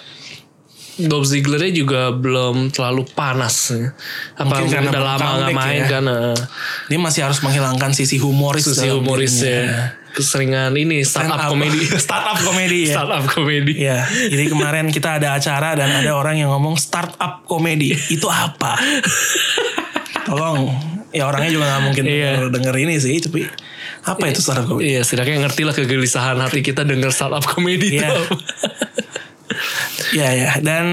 Bob Zigglernya juga belum terlalu panas. ya. Apa
Mungkin karena
udah
belum
lama nggak
comeback
main
ya.
kan? eh,
Dia masih harus menghilangkan sisi humoris.
Sisi
dalam dirinya.
humorisnya, keseringan ini startup komedi,
startup komedi ya.
startup komedi.
Iya, jadi kemarin kita ada acara dan ada orang yang ngomong startup komedi. Itu apa? Tolong, ya orangnya juga nggak mungkin
Iya.
denger, denger ini sih, tapi apa itu startup komedi?
Iya, setidaknya ngerti lah kegelisahan hati kita denger startup komedi itu.
Iya.
apa.
Iya ya, dan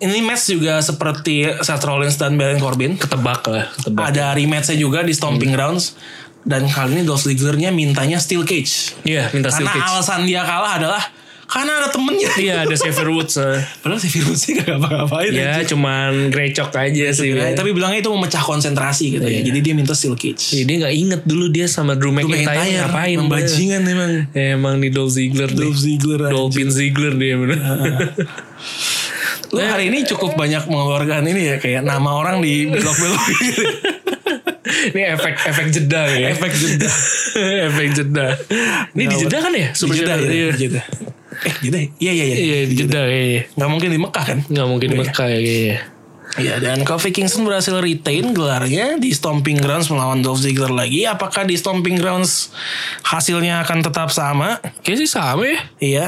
ini match juga seperti Seth Rollins dan Baron Corbin.
ketebak lah, ketebak.
Ada rematch-nya juga di Stomping Grounds. Dan kali ini Dolph Ziggler-nya mintanya steel cage.
Iya, minta steel
Karena
cage.
alasan dia kalah adalah karena ada temennya.
Iya, ada Xavier Woods. eh.
Padahal si virus sih gak ngapa-ngapain.
ya, cuman grecok aja sih. ya.
Ya, tapi bilangnya itu memecah konsentrasi gitu ya. Jadi dia minta steel cage.
Jadi dia nggak inget dulu dia sama Drew
Itu
McIntyre, ngapain.
Membajingan emang.
Ya, emang di Dolph Ziggler deh.
Dolph Ziggler ah. aja.
Dolphin Ziggler dia bener.
Lu hari ini cukup banyak mengeluarkan ini ya kayak nama orang di belok-belok gitu.
Ini efek efek jeda ya.
Efek jeda.
efek jeda. Ini di jeda kan ya?
Super jeda,
Jeda,
ya,
Iya.
jeda. Eh, jeda. ya? Iya, iya, iya.
Iya, di jeda kayaknya.
Gak mungkin di Mekah kan?
Nggak mungkin di Mekah ya kayaknya.
Iya, dan Kofi Kingston berhasil retain gelarnya di Stomping Grounds melawan Dolph Ziggler lagi. Apakah di Stomping Grounds hasilnya akan tetap sama?
Kayaknya sih sama ya.
Iya.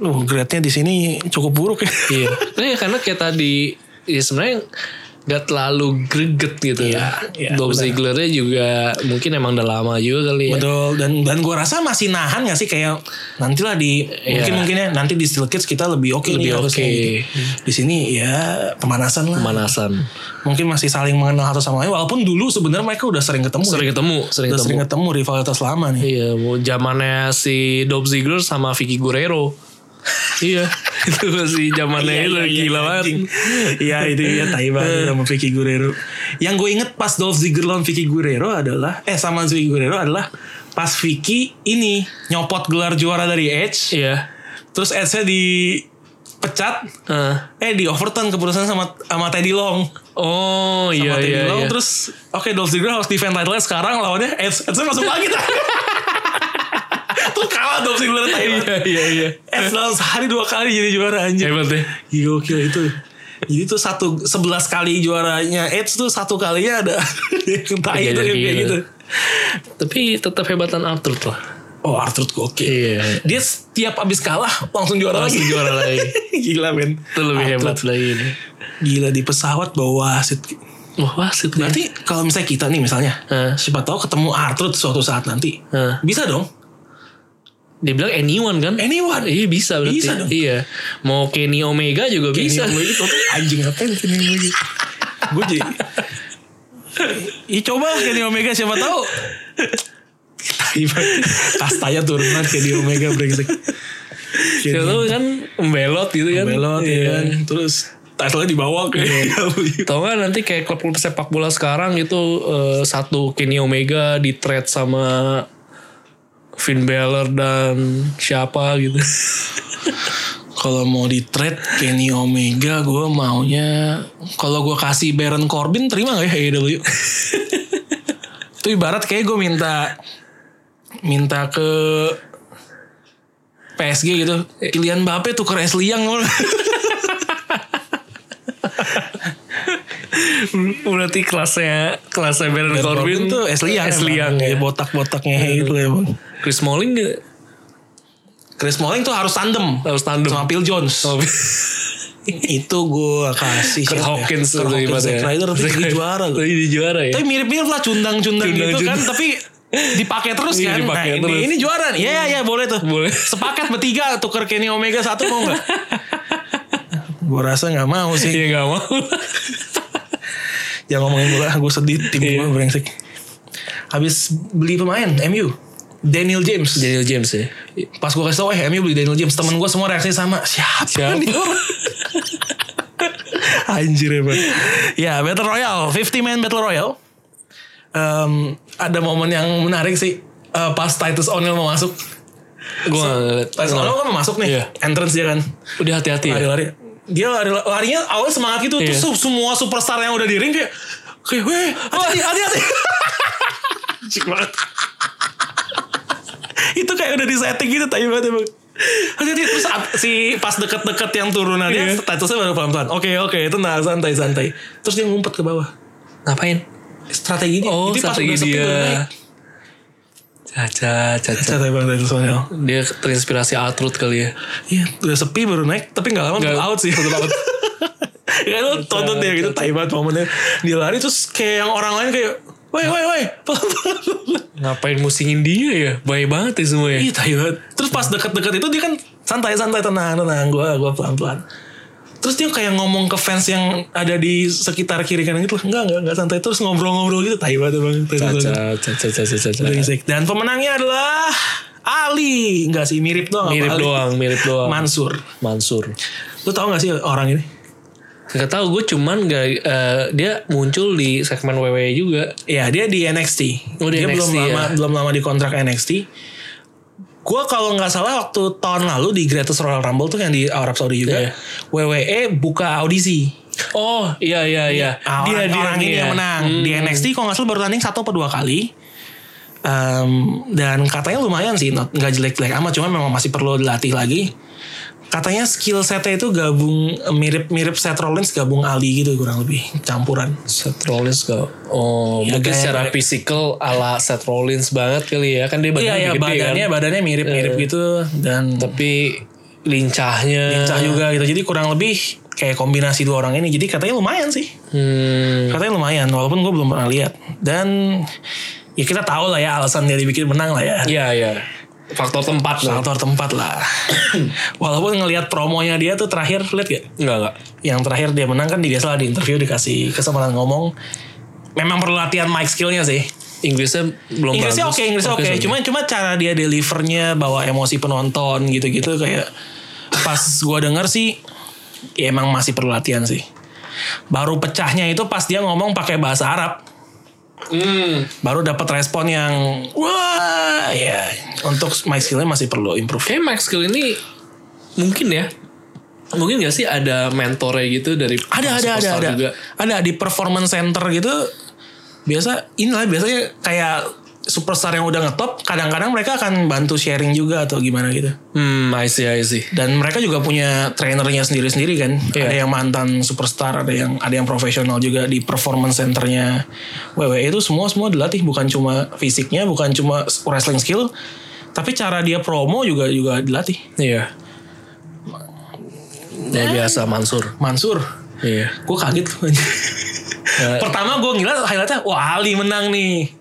Loh, grade-nya di sini cukup buruk ya.
Iya. Ini karena kayak tadi ya sebenarnya nggak terlalu greget gitu ya.
iya,
Dolph
benar.
Zigglernya juga mungkin emang udah lama juga kali ya.
Betul dan dan gue rasa masih nahan gak sih kayak nantilah di mungkin mungkin ya nanti di Steel Kids kita lebih oke
Iya. Lebih
nih harusnya
oke. Hmm.
gitu. Di sini ya pemanasan lah.
Pemanasan.
Mungkin masih saling mengenal satu sama lain walaupun dulu sebenarnya mereka udah sering ketemu. ya.
Sering ketemu, sering
udah
ketemu.
sering ketemu rivalitas lama nih.
Iya, mau zamannya si Dolph Ziggler sama Vicky Guerrero. iya, itu masih zamannya
Iya,
itu gila banget.
anjing. Iya itu ya tai banget sama Vicky Guerrero. Yang gue inget pas Dolph Ziggler lawan Vicky Guerrero adalah eh sama Vicky Guerrero adalah pas Vicky ini nyopot gelar juara dari Edge.
Iya.
Terus Edge-nya dipecat
Heeh.
Eh di Overton keputusan sama sama Teddy Long.
oh iya
Sama Teddy
iya. iya.
Long terus oke Dolph Ziggler harus defend title sekarang lawannya Edge. Edge masuk lagi tuh. Tuh kalah Dolph Ziggler Thailand.
iya iya iya.
Edge dalam sehari dua kali jadi juara anjir.
Hebat ya. deh.
Gokil itu. Jadi tuh satu sebelas kali juaranya Edge tuh satu kalinya ada yang tai
Iya,
itu
iya,
kayak
iya.
gitu.
Tapi tetap hebatan Arthur lah.
Oh Arthur gokil.
Iya.
Dia setiap abis kalah langsung juara
Langsung
lagi.
juara lagi.
Gila men.
Itu lebih hebat
Oh, iya. Arthur.
lagi. ini.
Gila di pesawat bawa wasit
Wah wasit nih.
Berarti kalau misalnya kita nih misalnya,
Heeh.
siapa tahu ketemu Arthur suatu saat nanti,
Heeh.
bisa dong.
Dia bilang anyone kan?
Anyone.
Iya bisa berarti.
Bisa dong.
Iya. Mau Kenny Omega juga bisa.
Kenny Omega, tapi anjing ngapain Kenny Omega? Gue jadi, ya coba Kenny Omega siapa tahu. Tai banget. Kastanya turun banget Kenny Omega brengsek.
Siapa tahu kan membelot gitu kan.
Belot ya kan, Iya. terus title dibawa ke E.
Tau gak nanti kayak klub-klub sepak bola sekarang itu eh, satu Kenny Omega di trade sama Finn Balor dan siapa gitu.
Kalau mau di trade Kenny Omega, gue maunya kalau gue kasih Baron Corbin terima gak ya AEW? Itu ibarat kayak gue minta minta ke PSG gitu. Kylian Mbappe tuker es liang.
Berarti kelasnya kelasnya Baron Corbin
tuh es liang.
Es
emang.
liang ya.
Iya, botak-botaknya gitu emang.
Chris Smalling nggak?
Chris Smalling tuh harus tandem.
Harus tandem.
Sama Phil Jones.
Oh,
Itu gue kasih.
Kurt
siapa ya?
Hawkins
Kurt
tuh
Hawkins.
ibaratnya.
Zack Ryder tapi jadi juara. loh.
Jadi juara ya.
Tapi mirip-mirip lah Iya. cundang-cundang gitu kan.
Cundang-cundang.
Tapi dipakai terus
Iya,
kan.
dipakai
nah, ini,
terus.
ini juara nih. Iya, iya boleh tuh.
Boleh.
Sepakat bertiga tuker Kenny Omega satu mau gak? gue rasa gak mau sih.
Iya nggak mau.
Jangan ngomongin bola. Gue sedih tim
Iya.
gue brengsek. Habis beli pemain MU. Daniel James.
Daniel James ya.
Pas gue kasih tau eh MU beli Daniel James. Temen gue semua reaksinya sama. Siapa,
Siapa?
nih orang? Anjir emang. ya Battle Royale. 50 man Battle Royale. Em, ada momen yang menarik sih. Eh, pas Titus O'Neil mau masuk.
Gue ngeliat.
Titus O'Neil kan mau masuk nih.
Iya.
Entrance dia kan.
Udah hati-hati ya.
Lari-lari. Dia lari, larinya awal semangat gitu.
Iya.
Terus su- semua superstar yang udah di ring kayak. Kayak weh hati-hati hati-hati. Cik banget. Itu kayak udah di setting gitu. Tai banget emang. Hati-hati. Terus ab- si pas deket-deket yang turunannya.
Iya.
Titusnya baru pelan-pelan. Oke oke tenang santai-santai. Terus dia ngumpet ke bawah.
Ngapain?
Strateginya.
Oh,
Jadi pas
strategi
udah sepi,
dia.
baru naik.
Caca, caca.
Santai banget Titus O'Neil.
Dia terinspirasi Artrud kali ya.
Iya, udah sepi baru naik, tapi gak lama
Nggak,
tetap out sih.
tetap out.
ya lu tonton dia gitu, tai banget momennya. Dia lari terus kayak yang orang lain kayak, woi woi woi.
Ngapain musingin dia ya? Baik banget ya semua ya.
Iya, tai banget. Terus pas deket-deket itu dia kan santai-santai, tenang-tenang, gue gua pelan-pelan. Terus dia kayak ngomong ke fans yang ada di sekitar kiri kanan gitu, enggak, enggak, enggak santai. Terus ngobrol-ngobrol gitu, tai banget bang.
Caca, caca, caca, caca.
Dan pemenangnya adalah Ali. Enggak sih, mirip doang. sama
Mirip
Ali.
doang, mirip doang.
Mansur.
Mansur.
Lu tau gak sih orang ini?
Gak tau gue cuman gak, eh, dia muncul di segmen WWE juga.
Iya dia di NXT.
Oh, di
dia
NXT,
belum
ya.
lama belum lama di kontrak NXT. Gue kalau nggak salah waktu tahun lalu di Greatest Royal Rumble tuh yang di Arab Saudi juga,
Iya.
WWE buka audisi.
Oh iya iya iya.
Ah, orang, orang ini
dia.
yang menang di
Hmm.
NXT. Kalau nggak salah baru tanding satu atau dua kali. Em, dan katanya lumayan sih, not- nggak jelek-jelek amat, cuma memang masih perlu dilatih lagi. Katanya skill setnya itu gabung mirip-mirip Seth Rollins gabung Ali gitu kurang lebih campuran.
Seth Rollins gak? Oh
Iya,
mungkin
kayak-
secara physical ala Seth Rollins banget kali ya kan dia badannya
Iya, iya
gede
badannya
kan.
badannya mirip-mirip gitu dan
Tapi lincahnya.
lincah juga gitu. Jadi kurang lebih kayak kombinasi dua orang ini. Jadi katanya lumayan sih.
Hmm.
Katanya lumayan walaupun gue belum pernah lihat. Dan ya kita tahu lah ya alasan dia dibikin menang lah ya.
Iya iya. Faktor tempat lah.
Faktor tempat lah. walaupun ngelihat promonya dia tuh terakhir lihat gak?
Enggak enggak.
Yang terakhir dia menang kan di biasalah di interview dikasih kesempatan ngomong. Memang perlu latihan mic skillnya sih.
Inggrisnya belum
Inggrisnya
bagus.
oke, Inggrisnya oke.
soalnya.
Cuma cuma cara dia delivernya bawa emosi penonton gitu-gitu kayak pas gua denger sih ya emang masih perlu latihan sih. Baru pecahnya itu pas dia ngomong pakai bahasa Arab,
Hmm.
baru dapat respon yang wah ya untuk my skill-nya masih perlu improve.
Kayak Max Skill ini mungkin ya. Mungkin gak sih ada mentornya gitu dari
Ada ada ada
superstar
ada.
juga.
Ada di performance center gitu biasa inilah biasanya kayak superstar yang udah ngetop kadang-kadang mereka akan bantu sharing juga atau gimana gitu.
Hmm, I see, I see.
dan mereka juga punya trainernya sendiri-sendiri kan
Iya.
ada yang mantan superstar ada yang ada yang profesional juga di performance centernya WWE itu semua semua dilatih bukan cuma fisiknya bukan cuma wrestling skill tapi cara dia promo juga juga dilatih
Iya. Ya
Nah.
biasa Mansur.
Mansur
Iya.
gue kaget
Ya.
pertama gue ngeliat highlightnya wah Ali menang nih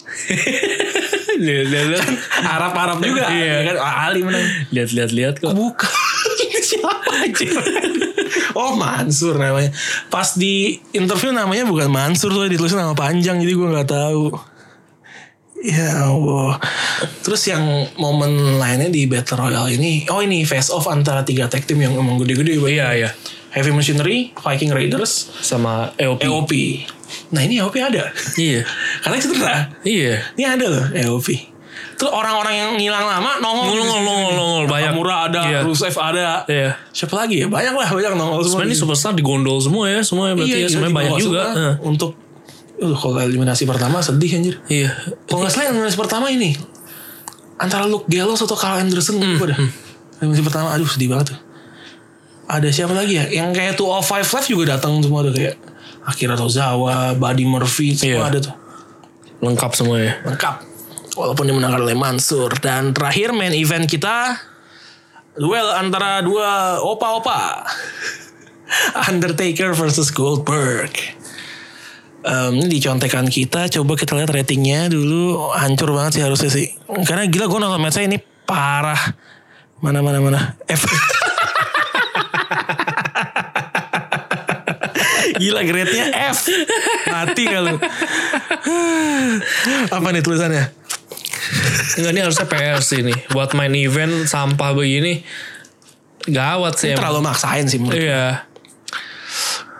Lihat-lihat
Arab Arab juga
Iya.
kan Wah, Ali menang
lihat-liat kok.
Bukan. Siapa aja? oh Mansur namanya. Pas di interview namanya bukan Mansur soalnya ditulis nama panjang jadi gue nggak tahu. Ya Allah. Terus yang momen lainnya di Battle Royale ini, oh ini face off antara tiga tag team yang emang gede-gede Bang.
Iya, iya.
Heavy Machinery, Viking Raiders,
Sama EOP.
EOP. Nah ini EOP ada.
Iya.
Karena cedera.
Iya.
Ini ada loh EOP. Terus orang-orang yang ngilang lama nongol.
Nongol nongol nongol nongol banyak.
Murah ada,
Iya.
Rusev ada.
Iya.
Siapa lagi ya? Banyak lah, banyak nongol semua.
Sebenarnya ini superstar digondol semua ya, semua ya berarti ya,
gila,
sebenarnya
di
banyak
bawah
juga. eh.
semua.
Heeh.
iya, Untuk Aduh, kalau eliminasi pertama sedih anjir.
Iya. Hmm,
Kalau nggak salah eliminasi pertama ini antara Luke Gallows atau Carl Anderson gitu dah. Eliminasi pertama aduh sedih banget tuh. Ada siapa lagi ya? Yang kayak tuh All Five Left juga datang semua tuh kayak Akira Tozawa, Buddy Murphy
Iya.
semua ada tuh.
Lengkap semua ya.
Lengkap. Walaupun dimenangkan oleh Mansur dan terakhir main event kita duel antara dua opa-opa. Undertaker versus Goldberg. Em, ini dicontekan kita coba kita lihat ratingnya dulu hancur banget sih harusnya sih karena gila gue nonton match ini parah mana mana mana Eh, F gila grade-nya F mati kalau apa nih tulisannya
Enggak ini harusnya PRS ini. Buat main event sampah begini gawat sih. emang.
terlalu maksain sih menurut
Iya.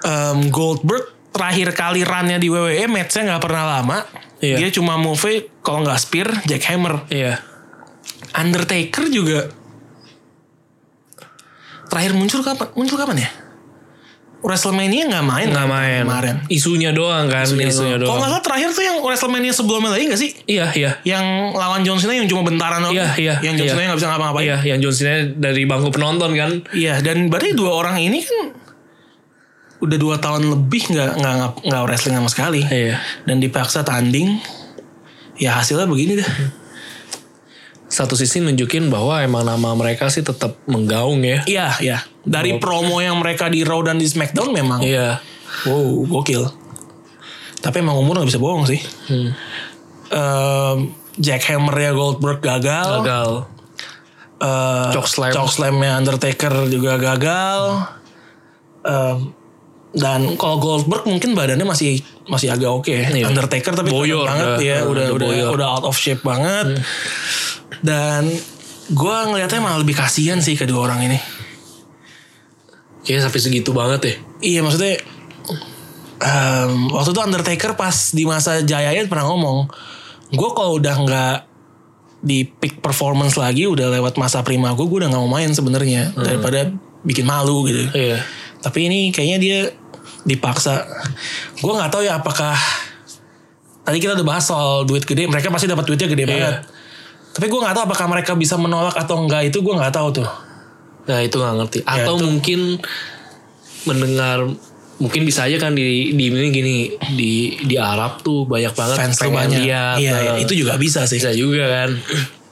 Em, Goldberg terakhir kali runnya di WWE matchnya nggak pernah lama
Iya.
dia cuma move kalau nggak spear jackhammer
Iya.
Undertaker juga terakhir muncul kapan muncul kapan ya Wrestlemania nggak main kan?
Nggak main.
kemarin
Isunya doang kan. Isunya,
kalau
doang.
nggak salah terakhir tuh yang Wrestlemania sebelumnya lagi nggak sih
Iya, iya.
yang lawan John Cena yang cuma bentaran doang.
Iya, iya,
yang John
iya.
Cena nggak bisa ngapa-ngapain
Iya, yang John Cena dari bangku penonton kan.
Iya, dan berarti dua orang ini kan udah dua tahun lebih nggak nggak ngap- nggak wrestling sama sekali.
Iya.
Dan dipaksa tanding, ya hasilnya begini dah.
Satu sisi nunjukin bahwa emang nama mereka sih tetap menggaung ya.
Iya, iya. Dari promo yang mereka di Raw dan di SmackDown memang,
Iya.
wow, gokil. Tapi emang umur nggak bisa bohong sih.
Hmm.
Ehm, Jack Hammer-nya Goldberg gagal.
Gagal.
Eh,
Choke slam.
Choke slam-nya Undertaker juga gagal. Em, dan kalau Goldberg mungkin badannya masih masih agak oke. ya.
Iya.
Undertaker tapi kelihatan
Boyor,
banget
udah.
ya, udah
Udah
udah
boyor. Iya.
udah out of shape banget. Dan gue ngelihatnya malah lebih kasihan sih kedua orang ini.
Kayaknya Iya, sampai segitu banget ya.
Iya maksudnya em, waktu itu Undertaker pas di masa jayanya pernah ngomong, gue kalau udah nggak di peak performance lagi udah lewat masa prima gue, gue udah nggak mau main sebenarnya
Hmm.
daripada bikin malu gitu.
Iya.
Tapi ini kayaknya dia dipaksa. Gue nggak tahu ya apakah tadi kita udah bahas soal duit gede, mereka pasti dapat duitnya
Iya.
gede banget. Tapi gue nggak tahu apakah mereka bisa menolak atau enggak itu gue nggak tahu tuh.
Nah itu nggak ngerti. Atau
Ya, itu-
mungkin mendengar mungkin bisa aja kan di di ini gini di di Arab tuh banyak banget
Fans tuh
pengen
banyak.
lihat.
Iya,
Nah,
iya, itu juga bisa sih.
bisa juga kan.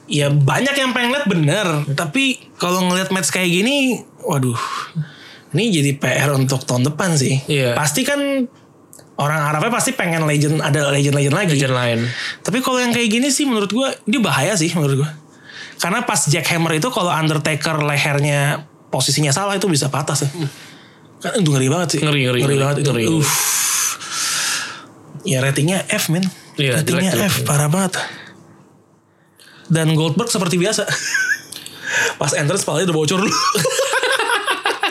ya banyak yang pengen lihat bener tapi kalau ngelihat match kayak gini waduh ini jadi PR untuk tahun depan sih
Iya.
pasti kan orang Arabnya pasti pengen legend ada legend legend lagi
Legend lain.
tapi kalau yang kayak gini sih menurut gua ini bahaya sih menurut gua karena pas jackhammer itu kalau Undertaker lehernya posisinya salah itu bisa patah sih kan itu ngeri banget sih
Hmm. Ngeri, ngeri, ngeri,
banget itu
ngeri.
Uff. ya ratingnya F men
Iya,
ratingnya
jelek, jelek.
F parah banget dan Goldberg seperti biasa pas entrance palanya udah bocor dulu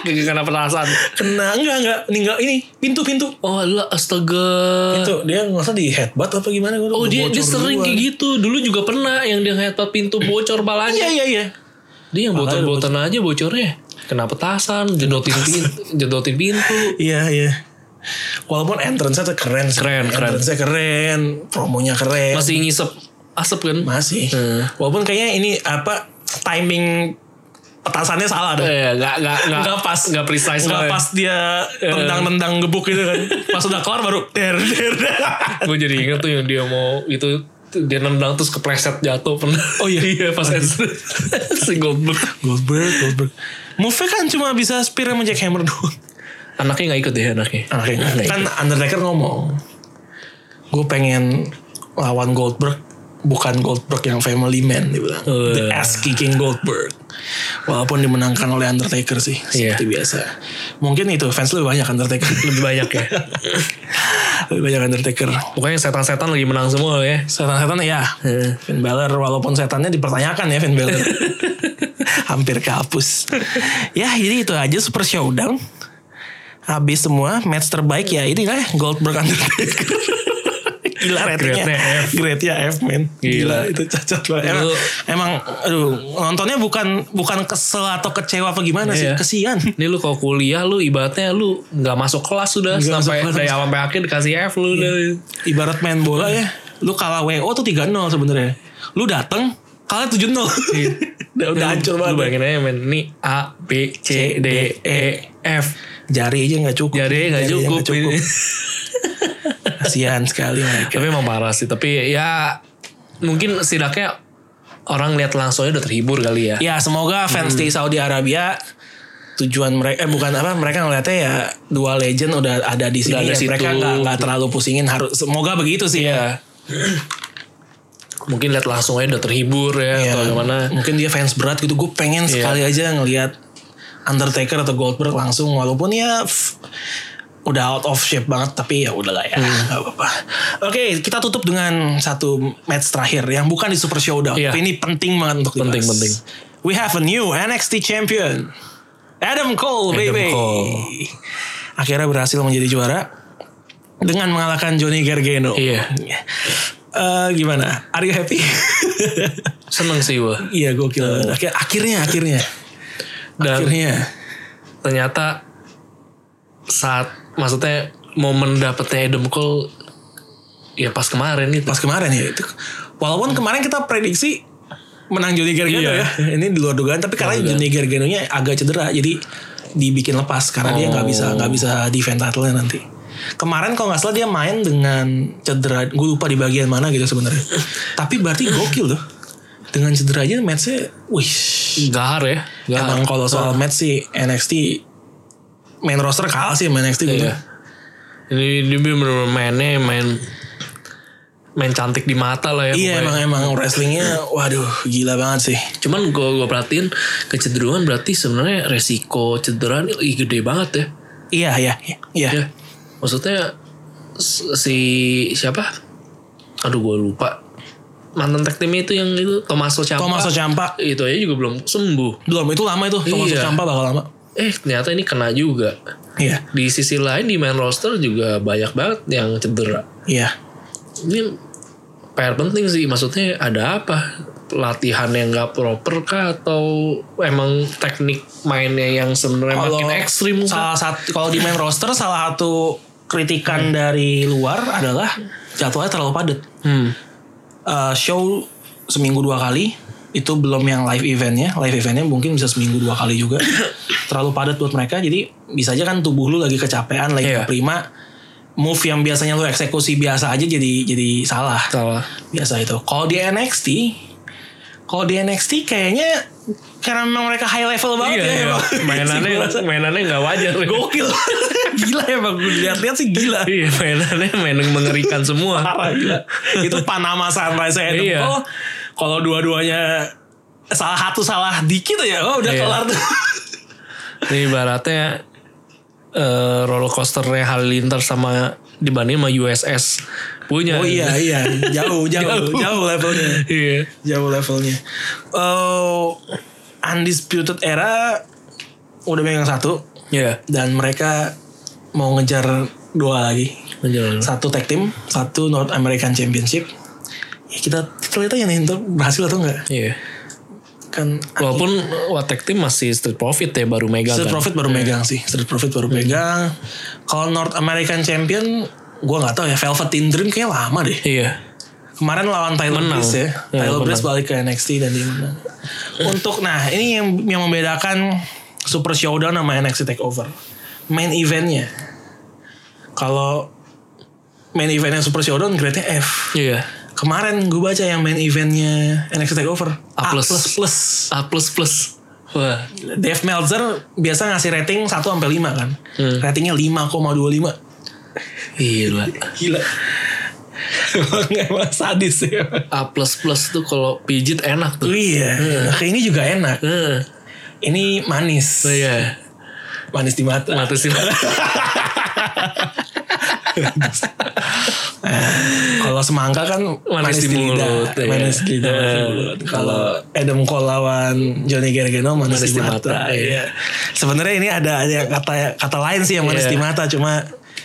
Karena penasaran.
kena enggak enggak ini enggak ini pintu pintu
Oh lah astaga.
itu dia nggak salah di headbutt apa gimana gua
Eh. Oh
udah
dia,
bocor
dia sering
duluan.
kayak gitu. Dulu juga pernah yang dia headbutt pintu bocor balanya.
iya iya iya
Dia yang
Palanya
bocor-bocor aja bocornya. Kena petasan, jedotin pintu, jedotin pintu.
Iya iya. Walaupun entrance-nya tuh keren sih.
Keren, keren.
Entrance-nya keren, promonya keren.
Masih ngisep asap kan?
Masih.
Hmm.
Walaupun kayaknya ini apa timing petasannya salah deh.
Eh, nggak nggak nggak
Nggak pas.
nggak precise banget.
Nggak pas dia tendang-tendang gebuk gitu kan. Pas udah kelar baru der der. der.
gue jadi inget tuh yang dia mau itu dia nendang terus kepleset jatuh pernah
Oh iya.
iya pas Edson si goblok
Goldberg, Goldberg. Move-nya kan cuma bisa spear sama jackhammer doang.
anaknya nggak ikut
ya,
deh anaknya
Akhirnya
Nggak
kan Undertaker ngomong, gue pengen lawan Goldberg bukan Goldberg yang family man dia bilang.
Eh.
The ass kicking Goldberg. Walaupun dimenangkan oleh Undertaker sih
Iya.
seperti biasa. Mungkin itu fans lebih banyak Undertaker.
lebih banyak ya
lebih banyak Undertaker.
pokoknya yang setan-setan lagi menang semua ya
Setan-setan ya.
Heeh.
Finn Balor walaupun setannya dipertanyakan ya Finn Balor. Hampir kehapus. ya jadi itu aja Super Showdown. Habis semua match terbaik ya ini lah ya, Goldberg Undertaker. Gila ratingnya.
Grade-nya F.
Grade-nya F men.
Gila.
itu cacat banget. Emang,
Lu-
emang aduh nontonnya bukan bukan kesel atau kecewa apa gimana sih.
Iya.
Kesian.
ini lu kalau kuliah lu ibaratnya lu nggak masuk kelas sudah
Nggak
sampai
masuk kelas. Iya.
dari awal sampai akhir dikasih F lu udah
Ibarat main bola ya. Lu kalah WO tuh 3-0 sebenarnya. Lu dateng kalah 7-0. Udah, udah hancur
Iya. Lu
banget.
bayangin aja men Ini A, B, C, D, E, F
Jari aja Iya, nggak cukup.
Jari nggak cukup, ini.
Kasihan sekali mereka.
Tapi emang parah sih Tapi ya Mungkin setidaknya Orang lihat langsungnya udah terhibur kali ya
Ya semoga fans di Saudi Arabia tujuan mereka eh bukan apa mereka ngeliatnya ya dua legend udah ada di
Udah
sini
ada
ya,
situ.
mereka nggak nggak terlalu pusingin harus semoga begitu sih
Iya Mungkin lihat langsung aja udah terhibur ya
Ya,
Atau gimana Iya.
mungkin dia fans berat gitu gue pengen sekali aja ngelihat Undertaker atau Goldberg langsung walaupun ya f- udah out of shape banget tapi ya udahlah ya
Iya.
nggak apa-apa oke kita tutup dengan satu match terakhir yang bukan di Super Showdown
Iya.
tapi ini penting banget untuk
Penting,
dibahas.
penting.
we have a new NXT champion Adam Cole
Adam
baby
Cole.
akhirnya berhasil menjadi juara dengan mengalahkan Johnny Gargano
Iya.
Eh, gimana are you happy
Seneng sih gue
Iya gokil banget. Akhir- Akhirnya akhirnya
Dan
akhirnya.
ternyata saat maksudnya momen dapetnya Adam Cole ya pas kemarin gitu.
Pas kemarin ya itu. Walaupun kemarin kita prediksi menang Johnny Gargano
Iya.
ya. Ini di luar dugaan tapi karena Johnny Gargano-nya agak cedera jadi dibikin lepas karena dia nggak bisa nggak bisa defend title-nya nanti. Kemarin kalau nggak salah dia main dengan cedera, gue lupa di bagian mana gitu sebenarnya. tapi berarti gokil loh. Dengan cedera aja match-nya, wih.
Gahar ya. Gahar.
Emang kalau soal match sih NXT main roster kalah sih sama NXT gitu.
Iya. Ini dia bener-bener mainnya main main cantik di mata lah ya.
Iya
pokoknya.
emang emang wrestlingnya waduh gila banget sih.
Cuman gua gua perhatiin kecenderungan berarti sebenarnya resiko cedera ini ih, gede banget ya.
Iya iya iya. iya.
Ya. Maksudnya s- si siapa? Aduh gua lupa. Mantan tag team itu yang itu Tomaso Ciampa.
Tommaso Ciampa
itu aja juga belum sembuh.
belum itu lama itu Tommaso
Iya.
Ciampa bakal lama.
Eh ternyata ini kena juga.
Iya
Di sisi lain di main roster juga banyak banget yang cedera.
iya.
Ini PR penting sih maksudnya ada apa? Latihan yang gak proper kah atau emang teknik mainnya yang sebenarnya
Kalau
makin ekstrim kah?
salah satu kalau di main roster salah satu kritikan dari luar adalah jadwalnya terlalu padat.
Hmm.
Eh, show seminggu dua kali itu belum yang live eventnya live eventnya mungkin bisa seminggu dua kali juga terlalu padat buat mereka jadi bisa aja kan tubuh lu lagi kecapean lagi
Iya.
prima move yang biasanya lu eksekusi biasa aja jadi jadi salah
Salah.
biasa itu kalau di NXT kalau di NXT kayaknya karena memang mereka high level banget ya emang.
Iya, mainannya
Gua rasa
mainannya nggak wajar.
gokil gila emang gue lihat-lihat sih gila
Iya, mainannya main mengerikan semua.
parah gila. Iya. itu Panama Sunrise saya
Iya.
oh kalau dua-duanya salah satu salah dikit ya oh udah
Iya.
kelar tuh
Ini ibaratnya eh roller coasternya Halilintar sama dibanding sama USS punya.
oh iya iya jauh jauh jauh,
Jauh.
levelnya
Iya.
jauh levelnya oh undisputed era udah megang satu
Iya.
dan mereka mau ngejar dua lagi
Menjelang.
satu tag team satu North American Championship ya kita kita lihat aja nih ntar berhasil atau enggak
Iya.
kan
Walaupun Watek Team masih Street Profit ya baru megang
Street
kan.
Profit baru megang sih. Street Profit
Hmm.
baru megang. Kalau North American Champion, gue nggak tahu ya. Velveteen Dream kayaknya lama deh.
Iya.
Kemarin lawan Tyler
Menang.
Breeze ya.
Ya,
Tyler
menang.
Breeze balik ke NXT dan dia menang. Untuk nah ini yang yang membedakan Super Showdown sama NXT Takeover. Main eventnya. Kalau main eventnya Super Showdown grade-nya F.
Iya.
Kemarin gue baca yang main eventnya NXT Takeover
A plus.
plus plus.
A plus plus. Wah.
Dave Meltzer biasa ngasih rating 1 sampai 5 kan.
Hmm.
Ratingnya 5,25.
Gila.
Gila. emang, emang sadis ya.
A plus plus tuh kalau pijit enak tuh.
Iya.
Hmm.
Nah, ini juga enak.
Heeh.
Ini manis.
Iya.
Manis di mata.
Mata sih.
Kalau semangka kan manis,
Manis
di,
di mulut,
lidah.
iya.
Manis di lidah. manis di
Eh.
mulut. Kalau Adam Cole lawan Johnny Gargano manis,
Manis
di
di
mata.
mata, iya.
Iya. Sebenarnya ini ada ada kata kata lain sih yang manis
Iya.
di mata cuma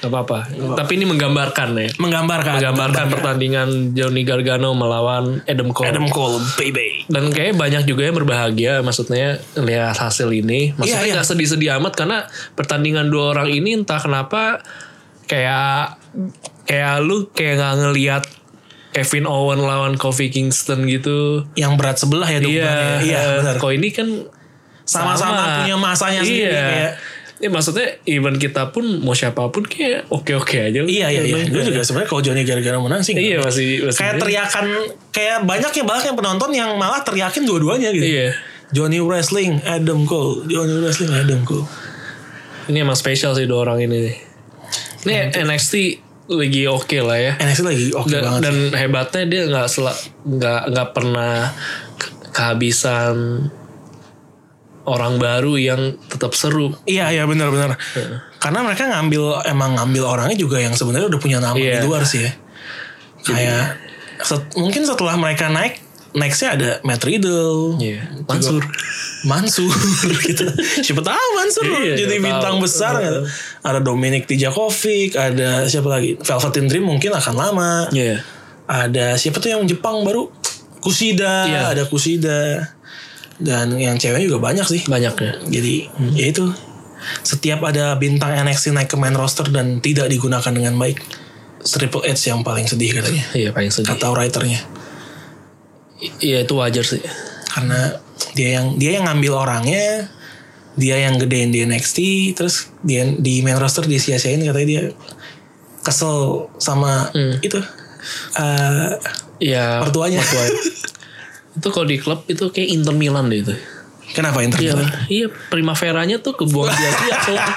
Gak apa-apa. Tapi ini menggambarkan ya.
menggambarkan
Menggambarkan pertandingan Johnny Gargano melawan Adam Cole.
Iya. Adam Cole baby.
dan kayaknya banyak juga yang berbahagia maksudnya lihat hasil ini maksudnya
Iya, iya.
nggak sedih-sedih amat karena pertandingan dua orang ini entah kenapa kayak kayak lu kayak nggak ngelihat Kevin Owen lawan Kofi Kingston gitu.
yang berat sebelah ya dukungannya.
Iya,
iya
eh,
benar.
Kok ini kan
Sama-sama punya masanya
iya.
sendiri, kayak-
Ya, maksudnya even kita pun mau siapapun kayak oke-oke aja.
Iya iya iya. Gue
Iya,
juga sebenarnya kalau Johnny gara-gara menang sih.
Iya, masih, masih
kayak teriakan kayak banyak ya banyak yang penonton yang malah teriakin dua-duanya gitu.
Iya.
Johnny Wrestling Adam Cole, Johnny Wrestling Adam Cole.
Ini emang spesial sih dua orang ini. nih. Ini NXT lagi oke lah ya.
NXT lagi oke
dan,
banget.
dan hebatnya dia nggak sela nggak nggak pernah ke- kehabisan orang baru yang tetap seru
Iya iya benar-benar. Karena mereka ngambil emang ngambil orangnya juga yang sebenarnya udah punya nama
Iya.
di luar sih ya. Kayak set- mungkin setelah mereka naik nextnya ada Matt Riddle,
Iya. Mansur
Mansur gitu. Siapa tahu Mansur
Iya,
jadi
siapa
bintang
tahu.
besar gitu. Ada Dominic Dijakovic, ada siapa lagi? Velveteen Dream mungkin akan lama.
Iya
Ada siapa tuh yang Jepang baru? Kusida,
Iya.
ada Kusida. Dan yang cewek juga banyak sih.
banyak ya
Jadi ya itu setiap ada bintang NXT naik ke main roster dan tidak digunakan dengan baik Triple H yang paling sedih katanya
iya paling sedih
kata writernya
iya itu wajar sih
karena dia yang dia yang ngambil orangnya dia yang gedein di NXT terus dia di main roster disia-siain katanya dia kesel sama
Hmm.
itu eh,
ya
Mertuanya.
itu kalau di klub itu kayak Inter Milan deh itu
kenapa Inter
iya
Milan?
iya primaveranya tuh kebuang dia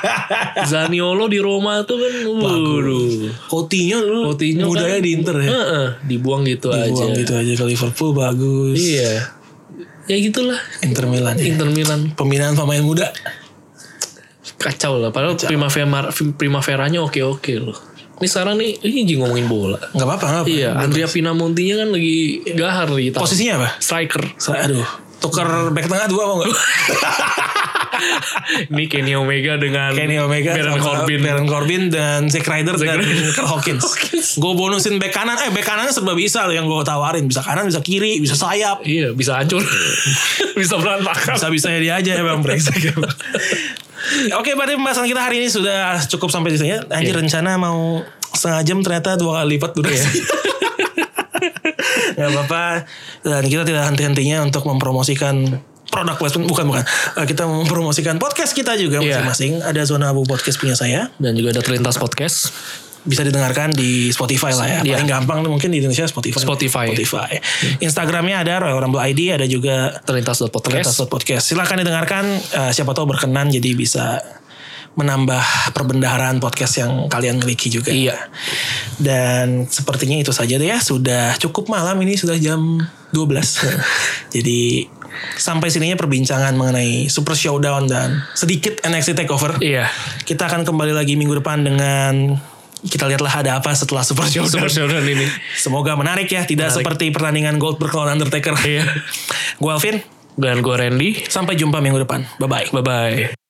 Zaniolo di Roma tuh kan waduh
Coutinho dulu
Coutinho
mudanya
kan-
di Inter ya
Heeh, dibuang gitu
Buang
aja
gitu aja ke Liverpool bagus
iya ya gitulah
Inter Milan ya.
Inter Milan
pembinaan pemain muda
kacau lah padahal primavera primaveranya oke oke loh ini sekarang nih ini jadi ngomongin bola
nggak apa-apa nggak apa-apa.
iya Andrea Pinamontinya kan lagi gahar nih Italia.
posisinya apa
striker
Sa- aduh tuker back tengah dua mau nggak
ini Kenny Omega dengan
Kenny Omega
Baron
sama
Corbin
Baron Corbin dan Zack Ryder dan Kirk Hawkins. gue bonusin back kanan, eh back kanannya serba bisa loh yang gue tawarin. Bisa kanan, bisa kiri, bisa sayap.
iya bisa hancur bisa berantakan
Bisa bisanya dia aja emang brengsek. emang. Oke, berarti pembahasan kita hari ini sudah cukup sampai di sini. ya. Anjir rencana mau setengah jam ternyata dua kali lipat dulu ya. Gak apa-apa Dan kita tidak henti-hentinya untuk mempromosikan Produk placement Bukan bukan Eh, Kita mempromosikan podcast kita juga
Iya.
masing-masing Ada Zona Abu Podcast punya saya
dan juga ada terlintas podcast
bisa didengarkan di Spotify lah ya.
Iya.
Paling gampang tuh mungkin di Indonesia Spotify.
Spotify. Hmm.
Spotify. Instagramnya ada Royal Rumble ID, ada juga
terlintas.podcast
Terlintas Podcast. Silahkan didengarkan. eh, siapa tahu berkenan jadi bisa menambah perbendaharaan podcast yang kalian miliki juga.
Iya.
Dan sepertinya itu saja deh ya. Sudah cukup malam ini sudah jam 12. jadi sampai sininya perbincangan mengenai Super Showdown dan sedikit NXT Takeover.
iya
Kita akan kembali lagi minggu depan dengan kita lihatlah ada apa setelah Super
Super
Showdown.
Showdown ini
Semoga menarik ya, tidak seperti pertandingan Goldberg lawan Undertaker.
iya
Gue Alvin,
dan gue Randy
sampai jumpa minggu depan. Bye bye.
bye bye